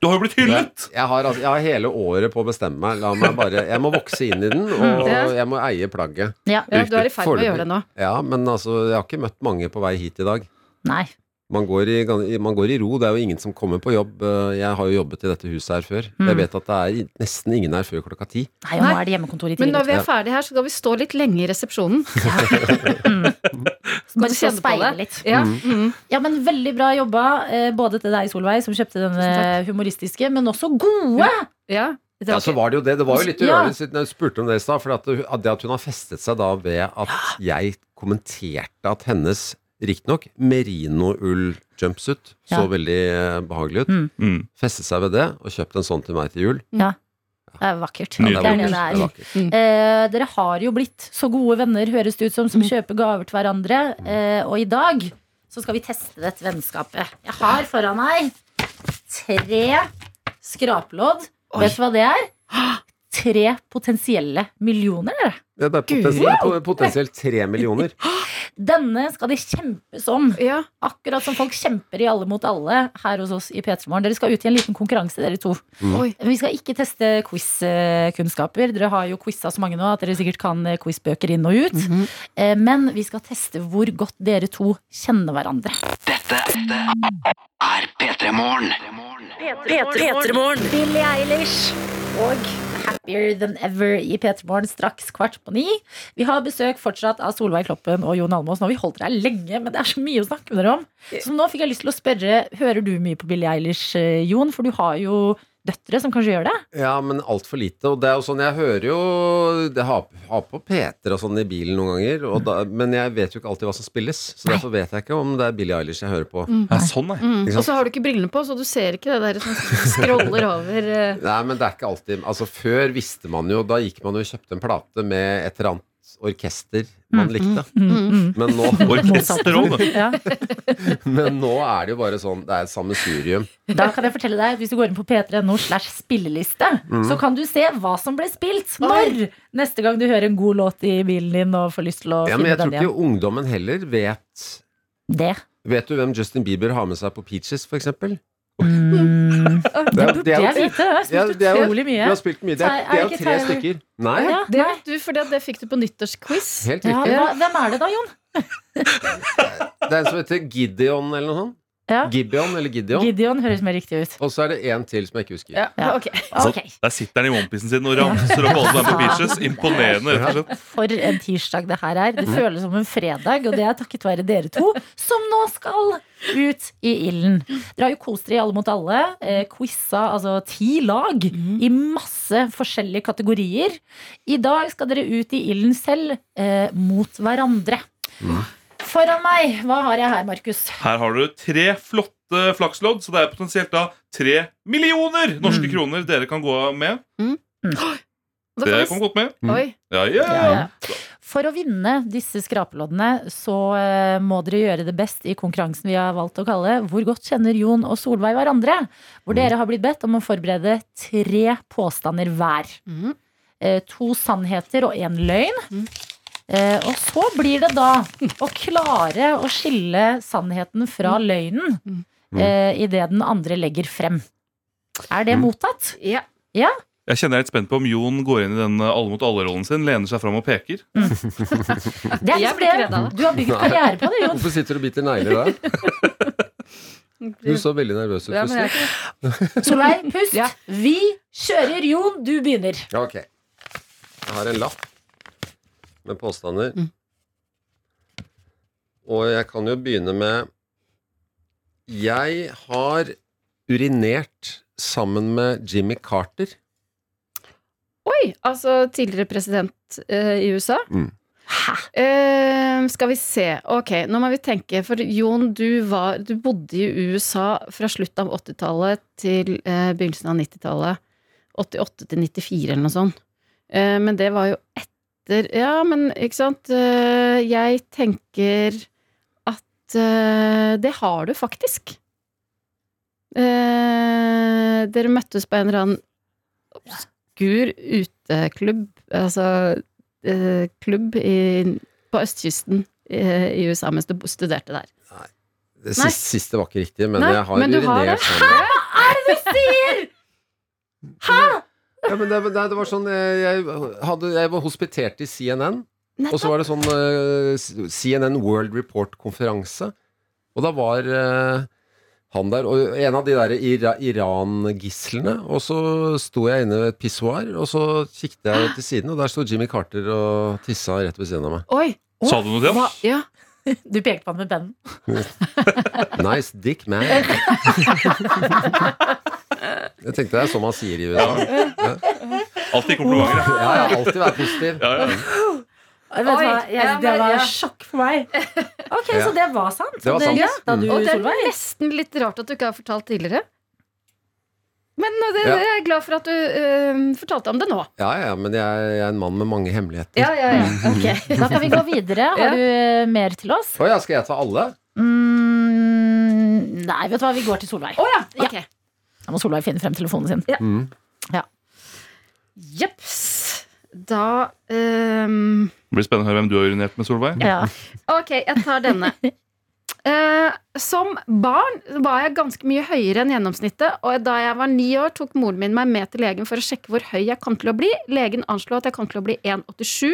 Du har jo blitt hyllet!
Jeg har, altså, jeg har hele året på å bestemme meg. La meg bare, jeg må vokse inn i den, og jeg må eie plagget.
Ja.
Ja, du er i ferd med å
Foreløpig.
gjøre det nå.
Ja, men altså, jeg har ikke møtt mange på vei hit i dag.
Nei.
Man går, i, gan- i- man går i ro, det er jo ingen som kommer på jobb. Eh, Jeg har jo jobbet i dette huset her før.
Mm.
Jeg vet at det er i- nesten ingen her før klokka ti.
Nei, og nå
Nei.
er det hjemmekontor i
Men
tillegg.
når vi er ferdig her, så skal vi stå litt lenge i resepsjonen.
Bare
du
stå og
kjenne på
speile
det?
litt.
Ja. Mm.
Ja, men Veldig bra jobba, eh, både til deg, Solveig, som kjøpte denne
Tusen
humoristiske, men også gode.
Ja. Det var
Ja, så
ikke-
var det jo det. Det var jo litt
Ja.
uørlig siden jeg spurte om det i stad. For at det, at det at hun har festet seg da ved at jeg kommenterte at hennes, riktignok, merinoull-jumpsuit så
Ja.
veldig eh, behagelig ut.
Mm.
Mm.
Festet seg ved det, og kjøpt en sånn til meg til jul.
Mm.
Det er vakkert.
Ja,
det,
det er
er det det er.
vakkert. Det er vakkert.
Eh, dere har jo blitt så gode venner, høres det ut som, som kjøper gaver til hverandre. Eh, og i dag så skal vi teste dette vennskapet. Jeg har foran meg tre skraplodd. Vet du hva det er? Tre potensielle millioner. dere.
Ja, det er potensielt, po- potensielt tre millioner.
Denne skal de kjempes om.
ja.
Akkurat som folk kjemper i Alle mot alle her hos oss i P3 Morgen. Dere skal ut i en liten konkurranse, dere to.
Mm.
Oi.
Vi skal ikke teste quizkunnskaper. Dere har jo quiza så mange nå at dere sikkert kan eh, quizbøker inn og ut. Eh, Men vi skal teste hvor godt dere to kjenner hverandre.
Dette er P3 Morgen.
P3morgen.
Billie Eilish og Happier Than Ever i P3 Morgen straks kvart på ni. Vi har besøk fortsatt av Solveig Kloppen og Jon Almaas. Nå har vi holdt dere her lenge, men det er så mye å snakke med dere om. Så nå fikk jeg lyst til å spørre, hører du mye på Billie Eilish, eh, Jon? For du har jo døtre som kanskje gjør det.
Ja, men altfor lite. Og det er jo sånn, jeg hører jo Jeg har, har på Peter og sånn i bilen noen ganger, og da, men jeg vet jo ikke alltid hva som spilles. Så derfor vet jeg ikke om det er Billie Eilish jeg hører på.
Ja, sånn, nei.
Mm.
Ikke sant?
Og så har du ikke brillene på, så du ser ikke det der som scroller over. eh.
Nei, men det er ikke alltid Altså, før visste man jo Da gikk man jo og kjøpte en plate med et eller annet orkester man likte. Men nå,
Orkester òg, du.
Mm. Ja.
men nå er det jo bare sånn Det er et sammensurium.
Da kan jeg fortelle deg at Hvis du går inn på p3.no slash spilleliste,
Mm.
så kan du se hva som ble spilt når neste gang du hører en god låt i bilen din og får lyst til å
Ja, men
finne
jeg tror
den igjen.
ikke ungdommen heller vet
Det.
Vet du hvem Justin Bieber har med seg på Peaches, for eksempel?
Mm.
Det
Det
er-
burde
det er jo-
jeg vite. Jeg har
Ja,
spilt
det er jo-
utrolig
Du
mye.
har spilt mye. Det er,
Ty- er
det er jo
det ikke
tre
Tyler-
stykker. Nei,
Ja,
Det
nei.
vet du, for det fikk du på nyttårsquiz.
helt
Ja,
riktig.
hva, hvem er det da, Jon?
Det er en som heter Gideon eller noe sånt.
Ja.
Gibeon eller Gideon.
Gideon høres mer riktig ut.
Og så er det en til som jeg ikke husker.
Ja,
Ja.
ok.
Altså,
Ok,
Der sitter han i onepiecen sin og ramser opp alle som er på Beaches. Imponerende, rett og slett.
For en tirsdag det her er. Det føles som en fredag, og det er takket være dere to, som nå skal ut i ilden. Dere har jo kost dere i Alle mot alle. Eh, quiza altså ti lag i masse forskjellige kategorier. I dag skal dere ut i ilden selv, eh, mot hverandre. Foran meg, hva har jeg her, Markus?
Her har du tre flotte flakslodd, så det er potensielt da tre millioner
Mm.
norske kroner dere kan gå med.
Da
Det
kan
kom
vi...
godt med.
Mm.
s- Oi.
Ja, ja, ja.
For å vinne disse skrapeloddene så eh, må dere gjøre det best i konkurransen vi har valgt å kalle Hvor godt kjenner Jon og Solveig hverandre?
Mm.
Hvor dere har blitt bedt om å forberede tre påstander hver.
Mhm.
Eh, To sannheter og én løgn.
Mm.
Eh, Og så blir det da å klare å skille sannheten fra
Mm.
løgnen
Mm.
eh, i det den andre legger frem. Er
Mm.
det mottatt?
Ja.
Jeg kjenner jeg er litt spent på om Jon går inn i den eh, alle mot alle-rollen sin, lener seg fram og peker.
Det er
Jeg
liksom
blir ikke redd
det.
av det.
Du har bygd karriere på det, Jon.
Hvorfor sitter du og biter negler da? Du så veldig nervøs ut
Ja, men jeg er
plutselig.
ikke det.
Solveig, pust.
Ja.
Vi kjører, Jon. Du begynner.
Ja, ok. Jeg har en lapp med påstander.
Mm.
Og jeg kan jo begynne med Jeg har urinert sammen med Jimmy Carter.
Oi, altså tidligere president eh, i USA.
Mm.
Eh, skal vi se. Ok, nå må vi tenke. For Jon, du, var, du bodde i USA fra slutt av 80-tallet til eh, begynnelsen av 90-tallet. 88 til 94 eller noe sånt. Eh, men det var jo etter Ja, men ikke sant. Eh, jeg tenker at eh, det har du faktisk. Eh, dere møttes på en eller annen obskur uteklubb, altså eh, klubb i, på østkysten eh, i USA mens du bo- studerte der.
Det
Nei.
siste, siste var ikke riktig, men
Nei,
jeg har sånn.
men du
urinert
har det.
sammen Hæ? Hva er det du sier?! Hæ?! Ja, men det, det, det var sånn eh, jeg, hadde, jeg var hospitert i CNN, og så var det sånn eh, CNN World Report-konferanse. Og da var eh, han der, og en av de der Ira Iran-gislene. Og så sto jeg inne ved et pissoar, og så kikket jeg til siden, og der sto Jimmy Carter og tissa rett ved siden av meg.
Oi!
Sa du noe til ham?
Hva? Ja.
Du pekte på han med pennen.
Nice dick man. Jeg tenkte det er sånn man sier i USA.
Alltid komplimenter. ja.
Ja, ja, alltid være positiv.
Ja, ja.
Vet du hva?
Oi,
Jeg,
ja,
det
men-
var
ja.
sjokk for meg. Ok,
Ja.
Så det var sant?
Det var sant. Mm.
gjetta
Ja.
du,
Og det er
Solveig?
nesten litt rart at du ikke har fortalt tidligere. Men eh, det,
Ja.
jeg er glad for at du eh, fortalte om det nå.
Ja, ja, men jeg, jeg er en mann med mange hemmeligheter.
Ja, ja, ja. Ok.
Da kan vi gå videre.
Ja.
Har du eh, mer til oss?
Å ja, skal jeg ta alle?
Mm, nei, vet du hva. Vi går til Solveig.
Å ja. Ok.
Da må Solveig finne frem telefonen sin.
Mm.
Jeps. Da ehm,
Det blir spennende å høre hvem du har urinert med, Solveig.
Ja.
Ok, jeg tar denne. Eh, som barn var jeg ganske mye høyere enn gjennomsnittet. Og da jeg var ni år, tok moren min meg med til legen for å sjekke hvor høy jeg kom til å bli. Legen anslo at jeg kom til å bli 1,87,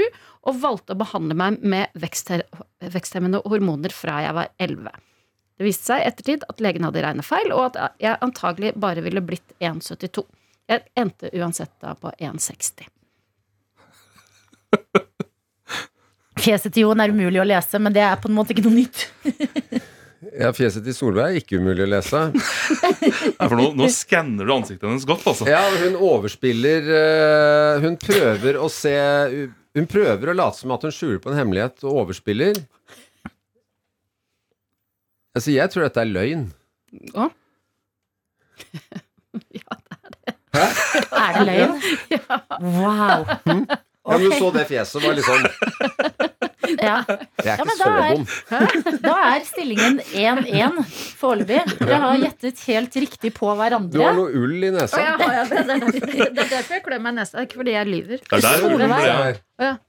og valgte å behandle meg med veksther- veksthemmende hormoner fra jeg var 11. Det viste seg i ettertid at legen hadde regnet feil, og at jeg antagelig bare ville blitt 1,72. Jeg endte uansett da på 1,60.
Fjeset til Jon er umulig å lese, men det er på en måte ikke noe nytt.
Ja, Fjeset til Solveig er ikke umulig å lese.
Nei, for nå, nå skanner du ansiktet hennes godt, altså.
Ja, hun overspiller eh, Hun prøver å se Hun prøver å late som at hun skjuler på en hemmelighet og overspiller. Altså, jeg tror dette er løgn.
Å?
Er det løgn? Wow.
Ja, men du så det fjeset var liksom
Ja.
Jeg er
Ja,
ikke
men
så
da er-
dum.
Da er stillingen 1-1 foreløpig. Dere har gjettet helt riktig på
Du har
hverandre.
noe ull i
Å,
nesa.
ja, har jeg det? Det er derfor- det er derfor jeg klør meg i nesa. Det er Ikke fordi jeg lyver.
Det er der
Solveig.
ulen ble av.
Her.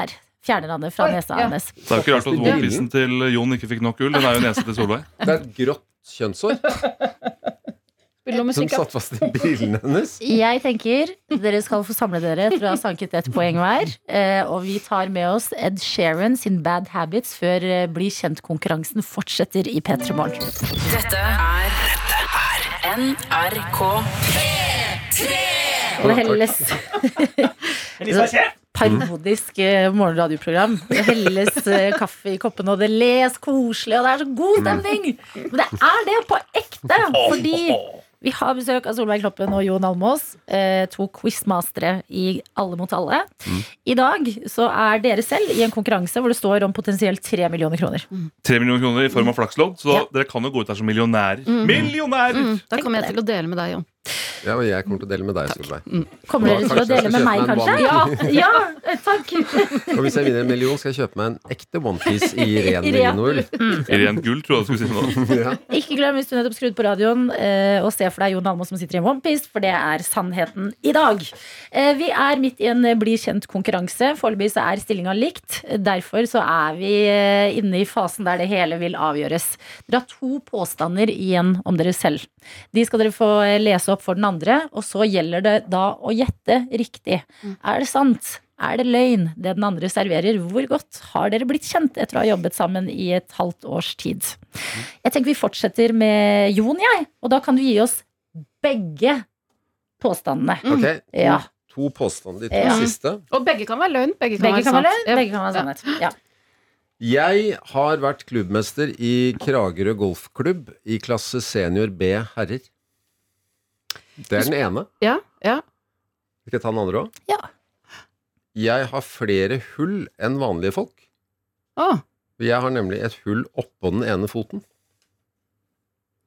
Der fjerner han det fra
Oi,
nesa
ja.
hennes.
Det er jo ikke rart at onepisen til Jon ikke fikk nok ull. Den er jo nesa til Solveig.
Det er et grått kjønnshår
Spiller noe
som
musikk, da.
satt fast i brillene hennes.
Jeg tenker dere skal få samle dere etter å ha sanket ett poeng hver. Eh, Og vi tar med oss Ed Sheeran sin Bad Habits før eh, Bli kjent-konkurransen fortsetter i P3 Morgen.
Dette er NRK.
Og helles Parodisk eh, morgenradioprogram. Det helles eh, kaffe i koppene, og det les koselig, og det er så god stemning! Men det er det på ekte! Fordi vi har besøk av Solveig Kloppen og Jon Almås. eh, To quizmastere i Alle mot alle.
Mm.
I dag så er dere selv i en konkurranse hvor det står om potensielt tre millioner kroner.
Tre millioner kroner i form av flakslodd, så da,
Ja. Mm.
dere kan jo gå ut der som millionærer. Millionærer!
Da kommer jeg til å dele med deg, Jon.
Ja, og jeg kommer til å dele med deg, Solveig.
Kommer
Ja,
dere til å
kanskje jeg
dele
skal
med meg,
kjøpe meg en
kanskje? Ja, ja, eh, takk!
Og hvis jeg vinner en million, skal jeg kjøpe meg en ekte onepiece i ren
I ren.
merinoull.
Irén Gull, tror jeg du skulle si nå.
Ja.
Ikke glem hvis du nettopp skrudde på radioen eh, og se for deg Jon Almaas som sitter i en onepiece, for det er sannheten i dag. Eh, vi er midt i en eh, bli kjent-konkurranse. Foreløpig så er stillinga likt. Derfor så er vi eh, inne i fasen der det hele vil avgjøres. Dere har to påstander igjen om dere selv. De skal dere få eh, lese opp for den andre, og så gjelder det da å gjette riktig. Er det sant? Er det løgn, det den andre serverer? Hvor godt har dere blitt kjent etter å ha jobbet sammen i et halvt års tid? Jeg tenker vi fortsetter med Jon, jeg. Og da kan du gi oss begge påstandene.
Ok,
Ja.
to påstander, de to
Mm. Ja.
siste.
Og begge kan være løgn. Begge kan
Begge kan
være
være
sant.
løgn, begge kan være sannhet. Ja.
Jeg har vært klubbmester i Kragerø golfklubb i klasse senior B herrer. Det er den ene.
Ja, ja.
Skal jeg ta den andre òg?
Ja.
Jeg har flere hull enn vanlige folk.
Å,
Jeg har nemlig et hull oppå den ene foten.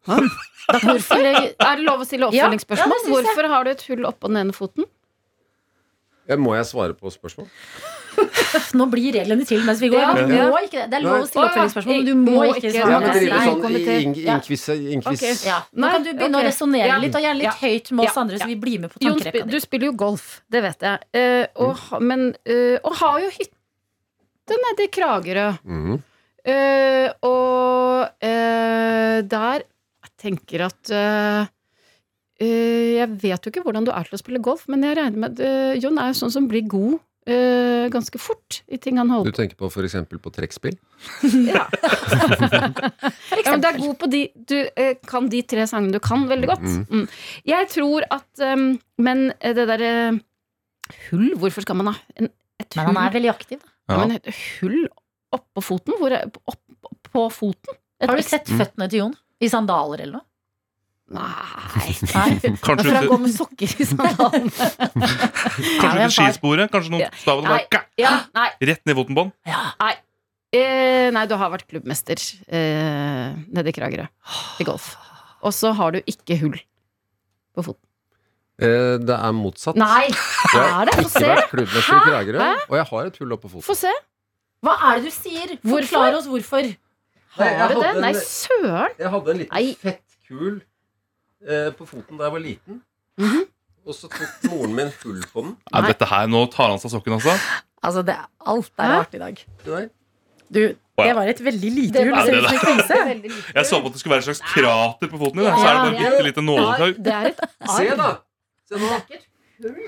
hvorfor legger- Er det lov å stille
Ja, ja, det
oppfølgingsspørsmål?
synes jeg. Sånn
Hvorfor har du et hull oppå den ene foten?
Eh, Må jeg svare på spørsmål?
Pff, Nå blir reglene til mens vi går.
Ja,
Du
ja.
må ikke det. Det er lov å stille
Nei.
oppfølgingsspørsmål, men du må
Må
ikke
ikke.
Ja,
svare.
Ja,
men
men
drive
nei,
sånn i
kommentar.
ing-
Ja.
inquiz, inquiz.
Ok.
Ja. Nå kan du begynne å
Ok.
resonnere
Ja.
litt, og gjerne litt høyt med oss
Ja.
andre, så vi blir med på
Jon, spi-
tankerekka di.
du spiller jo golf, det vet jeg. Eh,
Mm.
og, ha- Men eh, Og har jo hytte nede i Kragerø.
Mhm.
Eh, og eh, der Jeg tenker at eh, eh, Jeg vet jo ikke hvordan du er til å spille golf, men jeg regner med at eh, Jon er jo sånn som blir god eh, ganske fort i ting han
Du
holder på
tenker på f.eks. på trekkspill?
med. Ja.
For
Ja, men du er
eksempel.
god på de Du eh, kan de tre sangene du kan veldig godt.
Mhm.
Mm. Jeg tror at um, Men eh, det derre Hull? Hvorfor skal man ha en, et
Men han
hull?
er veldig aktiv. da.
Ja. men et hull oppå foten? Hvor er, opp, opp- på foten?
Har du sett føttene til Jon? I sandaler eller noe?
Nei
Nei.
Kanskje
For han
rundt,
går med sokker i sandalene.
kanskje
Ja,
rundt i
men-
skisporet? Kanskje noen
Ja.
stav og
Nei.
bare kak,
Ja, nei.
rett ned i Votenbånd?
Ja.
Eh, nei, du har vært klubbmester eh, nede i Kragerø i golf. Og så har du ikke hull på foten.
Eh, Det er motsatt.
Nei!
Jeg
er
har
det? Få
ikke
se.
vært klubbmester i Kragerø, og jeg har et hull oppå foten.
Få se.
Hva er det du sier?
Hvorfor?
Forklar oss hvorfor.
Nei, jeg
Har du det?
hadde en-
Nei, søren!
Jeg hadde en liten
Nei.
fettkul eh, på foten da jeg var liten. Og så tok moren min hull på den.
Nei,
Nei.
dette her, nå tar han seg av sokken, altså.
Altså, det er alt er
Hæ?
rart i dag.
Det der.
Du, det var et veldig lite hull. Det ser ut som en kvise.
Jeg så på at det skulle være et slags krater på foten din. da. Så er det bare et bitte lite nåletau.
Det er et
Se, da! Se nå.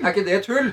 Er ikke det et hull?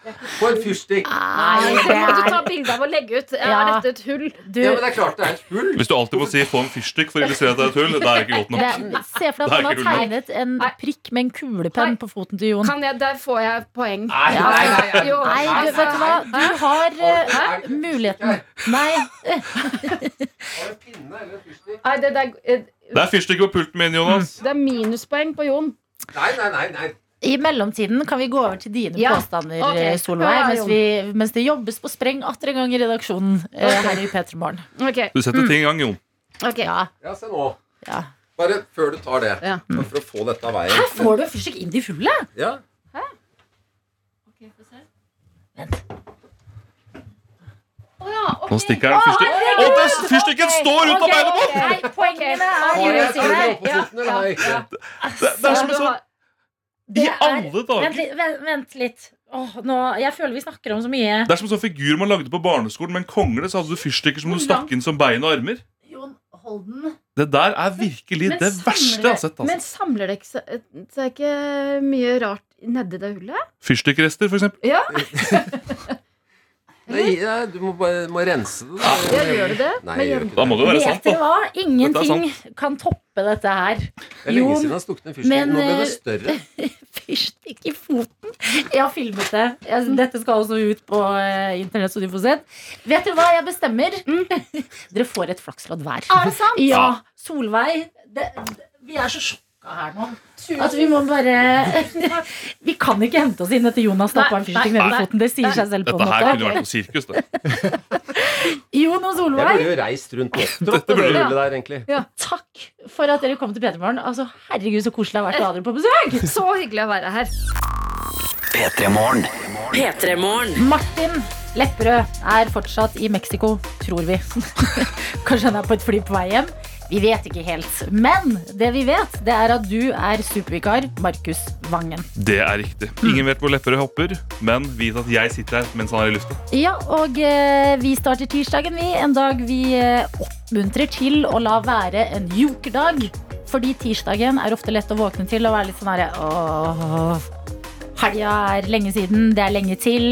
På en fyrstikk!
Nei,
Det må du ta bilde av og legge ut. Er
Ja.
dette et hull?
Du,
Ja, men det er klart det er et hull!
Hvis du alltid må si 'få en fyrstikk' for å illustrere at det er et hull, da er det ikke godt nok.
det, se for deg at
Det er
man har
ikke
tegnet en
Nei.
prikk med en kulepenn
Nei.
på foten til Jon.
Kan jeg, der får jeg poeng.
Nei, nei, nei, nei.
Jo. Altså,
Nei, du, vet du hva? Du har eh,
Hæ?
muligheten. Nei,
Har du en pinne eller en fyrstikk?
Nei, det, der, eh,
Det er fyrstikk på pulten min, Jonas.
det er minuspoeng på Jon.
Nei, nei, nei. nei.
I mellomtiden kan vi gå over til dine
Ja.
påstander,
Ok.
eh, Solveig.
Ja,
Mens,
Jon.
vi, mens det jobbes på spreng atter en gang i redaksjonen eh,
Ok.
her i P3 Morgen.
Ok,
Du setter ting i gang, Jon.
ok
Ja.
Ja, se nå.
Ja.
Bare før du tar det,
Ja.
bare for å få dette av
Her
veien.
får du først ikke inn i hullet!
Ja.
Nå stikker den fyrstikken. Og det- fyrstikken står rundt av beinet på den!
Nei, poengene er
Har jeg
Jon
tegnet
sine.
opp på foten, eller har jeg ikke?
Det, det er som en
Du
sånn
har-
I alle dager!
Vent litt. Vent, vent litt. Åh, nå, jeg føler vi snakker om så mye.
Det er som en sånn figur man lagde på barneskolen med en kongle, så hadde du fyrstikker som du stakk inn som bein og armer.
Jon, hold den.
Det der er virkelig
Men
det
samler-
verste jeg har sett.
Men
Altså.
samler det ikke seg så er ikke mye rart nedi det hullet?
Fyrstikkrester, for eksempel.
Nei, ja, du må bare må rense det. da.
Ja, gjør du det?
Nei,
Med
jeg gjør
jevne-
ikke
Da må det jo være
Vet
sant,
dere
da.
hva? Ingenting kan toppe dette her.
det. Det er lenge
Jo,
siden jeg har stukket en fyrstikk.
men,
Nå ble det
eh,
større.
Fyrstikk i foten. Jeg har filmet det. Jeg, dette skal også ut på eh, internett, så du får se. Vet dere hva jeg bestemmer? dere får et flakslodd hver.
Er det sant?
Ja, Solveig. Det, det, vi er så sjokka her nå. At vi må bare Vi kan ikke hente oss inn etter Jonas stappa en fyrstikk ned i
nei.
foten. Det sier seg selv på
Dette
en
her kunne
måte.
vært på sirkus. Det.
Jon og
Jeg
Solveig,
burde jo reist rundt og opptrådt det
burde du.
hullet der, egentlig.
takk for at dere kom til P3morgen. Altså, herregud, så koselig det har vært å ha dere på besøk.
Så hyggelig å være her.
P3morgen.
P3morgen.
Martin Lepperød er fortsatt i Mexico, tror vi. Kanskje han er på et fly på vei hjem. Vi vet ikke helt. Men det vi vet, det er at du er supervikar Markus Vangen.
det er riktig.
Mm.
Ingen vet hvor Lepperød hopper, men vit at jeg sitter her mens han er i lufta.
Ja, og eh, vi starter tirsdagen, vi. En dag vi eh, oppmuntrer til å la være en jokerdag. Fordi tirsdagen er ofte lett å våkne til og være litt sånn herre Åh, helga er lenge siden, det er lenge til.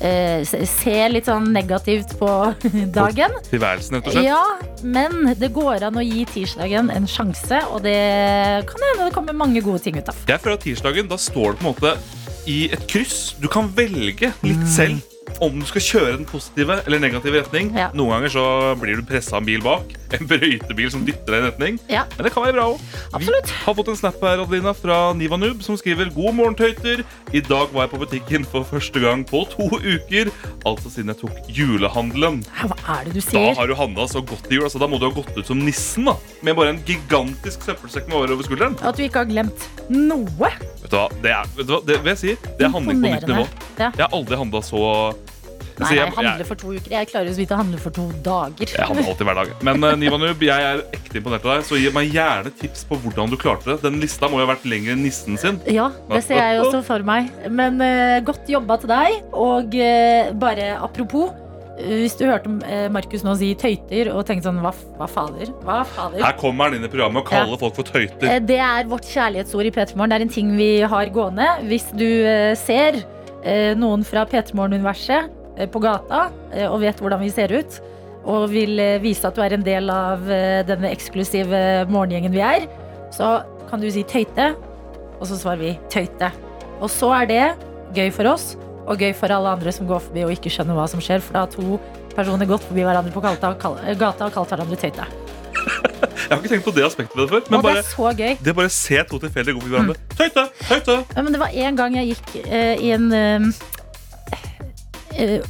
Eh, se- se litt sånn negativt på dagen.
Tilværelsen, rett og slett.
Ja, men det går an å gi tirsdagen en sjanse, og det kan hende det kommer mange gode ting ut av.
Jeg føler at tirsdagen, da står det på en måte i et kryss. Du kan velge
Mm.
litt selv om du skal kjøre den positive eller negative retning.
Ja.
Noen ganger så blir du pressa av en bil bak. En brøytebil som dytter deg i en retning.
Ja.
Men det kan være bra òg.
Absolutt.
Har fått en snap her Adelina, fra Nivanub som skriver God morgen, tøyter. I dag var jeg på butikken for første gang på to uker. Altså siden jeg tok julehandelen.
Hva er det du
Da
sier?
har du handla så godt i jul. Altså, da må du ha gått ut som nissen da med bare en gigantisk søppelsekk med håret over skulderen.
At du ikke har glemt noe.
Vet du hva, det er, vet du hva? Det, vil jeg si, det er handling på nytt nivå.
Ja.
Jeg har aldri handla så
Nei,
Så
nei,
jeg,
jeg
jeg,
handler for to uker. Jeg klarer jo så vidt å handle for to dager.
jeg handler alltid hver dag. Men eh, Nivanub, jeg er ekte imponert av deg, så gi meg gjerne tips på hvordan du klarte det. Den lista må jo ha vært lengre enn nissen sin.
Ja, det ser jeg jo også for meg. Men eh, godt jobba til deg. Og eh, bare apropos, eh, hvis du hørte eh, Markus nå si tøyter og tenkte sånn hva, f- hva fader? Hva fader?
Her kommer han inn i programmet og kaller folk for tøyter.
Eh, Det er vårt kjærlighetsord i P3morgen. Det er en ting vi har gående. Hvis du eh, ser eh, noen fra P3morgen-universet eh, på gata eh, og vet hvordan vi ser ut, og vil eh, vise at du er en del av eh, denne eksklusive morgengjengen vi er, så kan du si tøyte, og så svarer vi tøyte. Og så er det gøy for oss, og gøy for alle andre som går forbi og ikke skjønner hva som skjer, for da har to personer gått forbi hverandre på gata og kall- gata og kalt hverandre tøyte.
Jeg har ikke tenkt på det aspektet ved det før. Men
Og det
bare,
er Mm. så gøy.
det bare å se to tilfeldige gå forbi hverandre. Tøyte! Tøyte!
Ja, men det var en gang jeg gikk eh, i en eh, eh,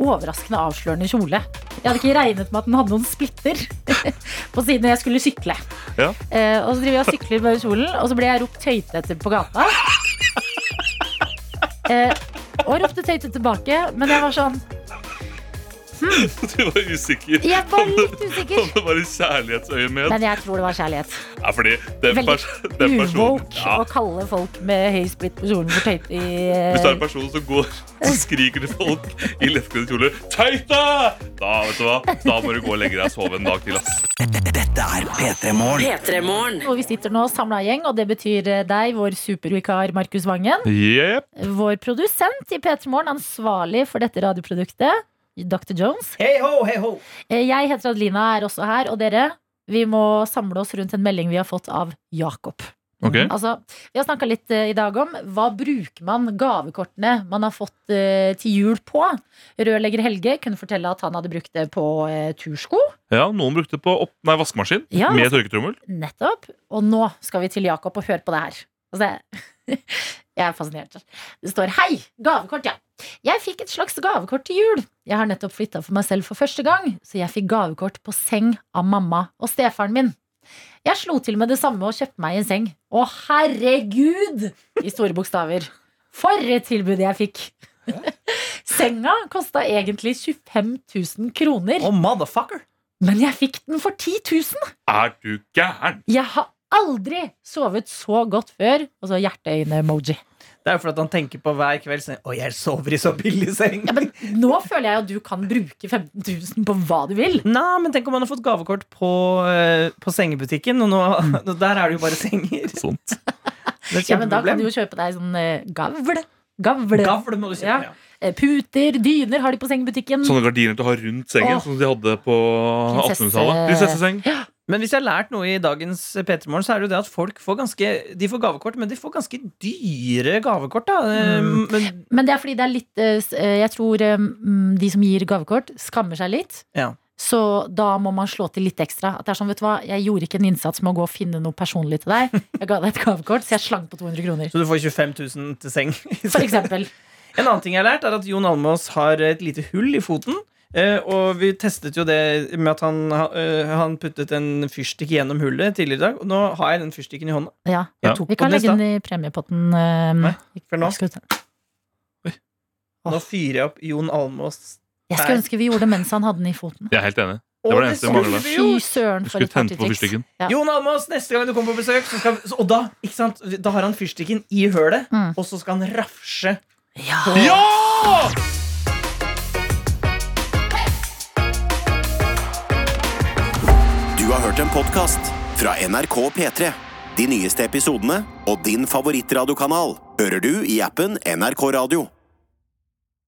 overraskende avslørende kjole. Jeg hadde ikke regnet med at den hadde noen splitter på siden jeg skulle sykle.
Ja.
Eh, og så driver jeg og sykler med kjolen, og så ble jeg ropt tøyte etter på gata. Eh, og ropte tøyte tilbake, men jeg var sånn
Du var usikker.
Jeg var litt usikker.
Om det var i kjærlighetsøyemed.
Men jeg tror det var kjærlighet.
Ja, fordi den,
Veldig
pers den personen
Uvoke
ja,
å kalle folk med høy splitt på kjolen for tøyte i eh,
Hvis det er en person som går Så skriker til folk i lettkledde kjoler Tøyte! Da, vet du hva, da må du gå og legge deg og sove en dag til ass.
Dette er P3 Morgen.
P3-morgen.
Og vi sitter nå samla gjeng, og det betyr eh, deg, vår supervikar Markus Vangen.
Jepp.
Vår produsent i P3 Morgen, ansvarlig for dette radioproduktet, Dr. Jones.
Hei ho, hei ho!
Eh, Jeg heter Adelina, er også her, og dere, vi må samle oss rundt en melding vi har fått av Jakob.
Ok.
Altså, vi har snakka litt eh, i dag om hva bruker man gavekortene man har fått eh, til jul på. Rørlegger Helge kunne fortelle at han hadde brukt det på eh, tursko.
Ja, noen brukte det på opp, nei, vaskemaskin
Ja, altså-
med tørketrommel.
Nettopp. Og nå skal vi til Jakob og høre på det her. Altså, jeg- jeg er fascinert. Det står 'Hei! Gavekort', ja. Jeg fikk et slags gavekort til jul. Jeg har nettopp flytta for meg selv for første gang, så jeg fikk gavekort på seng av mamma og stefaren min. Jeg slo til med det samme og kjøpte meg en seng. Å, herregud! I store bokstaver. For et tilbud jeg fikk! Senga kosta egentlig 25 000 kroner,
Oh, motherfucker!
men jeg fikk den for 10 000!
Er du gæren?
Jeg har aldri sovet så godt før. Og så hjerteøyne-emoji.
Det er jo fordi at han tenker på hver kveld sånn Å, jeg sover i så billig seng.
Ja, men nå føler jeg at du kan bruke 15 000 på hva du vil.
Nei, men tenk om han har fått gavekort på, eh, på sengebutikken, og nå, nå- der er det jo bare senger.
Sånt.
Det er et
Ja, men da kan
kjempeproblem.
du jo kjøpe deg sånn eh, gavl. Gavle.
Gavle må du kjøpe.
Ja.
Ja.
Eh, Puter, dyner har de på sengebutikken.
Sånn.
Sånne gardiner til å ha rundt sengen, sånn
Åh.
som de hadde på
Prinsesse-
1800-tallet. Prinsesseseng.
Men hvis jeg har lært noe i dagens P3morgen, så er det jo det at folk får ganske De får gavekort, men de får ganske dyre gavekort, da. Eh,
Mm.
Men,
Men det er fordi det er litt eh, s- eh, Jeg tror eh, mm, de som gir gavekort, skammer seg litt.
Ja.
Så da må man slå til litt ekstra. At det er sånn, vet du hva, Jeg gjorde ikke en innsats med å gå og finne noe personlig til deg. Jeg ga deg et gavekort, så jeg slang på 200 kroner.
så du får 25 000 til seng.
For eksempel.
En annen ting jeg har lært, er at Jon Almaas har et lite hull i foten. eh, Og vi testet jo det med at han, eh, han puttet en fyrstikk gjennom hullet tidligere i dag. Og nå har jeg den fyrstikken i hånda.
Ja.
Ja.
Jeg tok
Vi kan
på den i
legge den
stad.
i premiepotten. eh,
Nei, for nå.
jeg skulle-
Nå fyrer jeg opp Jon Almaas.
Jeg skulle
Nei.
ønske vi gjorde det mens han hadde den i foten.
Jeg er helt enig.
Og
Det var det eneste jeg
skulle
manglet.
vi jo!
Fy søren,
Du
for et
skulle tente på
partytriks.
fyrstikken.
Ja.
Jon Almaas, neste gang du kommer på besøk, så skal, så, og da, ikke sant? da har han fyrstikken i hølet,
Mm.
og så skal han rafsje
Ja.
Ja!
Du har hørt en podcast fra NRK P3. De nyeste episodene og din favorittradiokanal hører du i appen NRK Radio.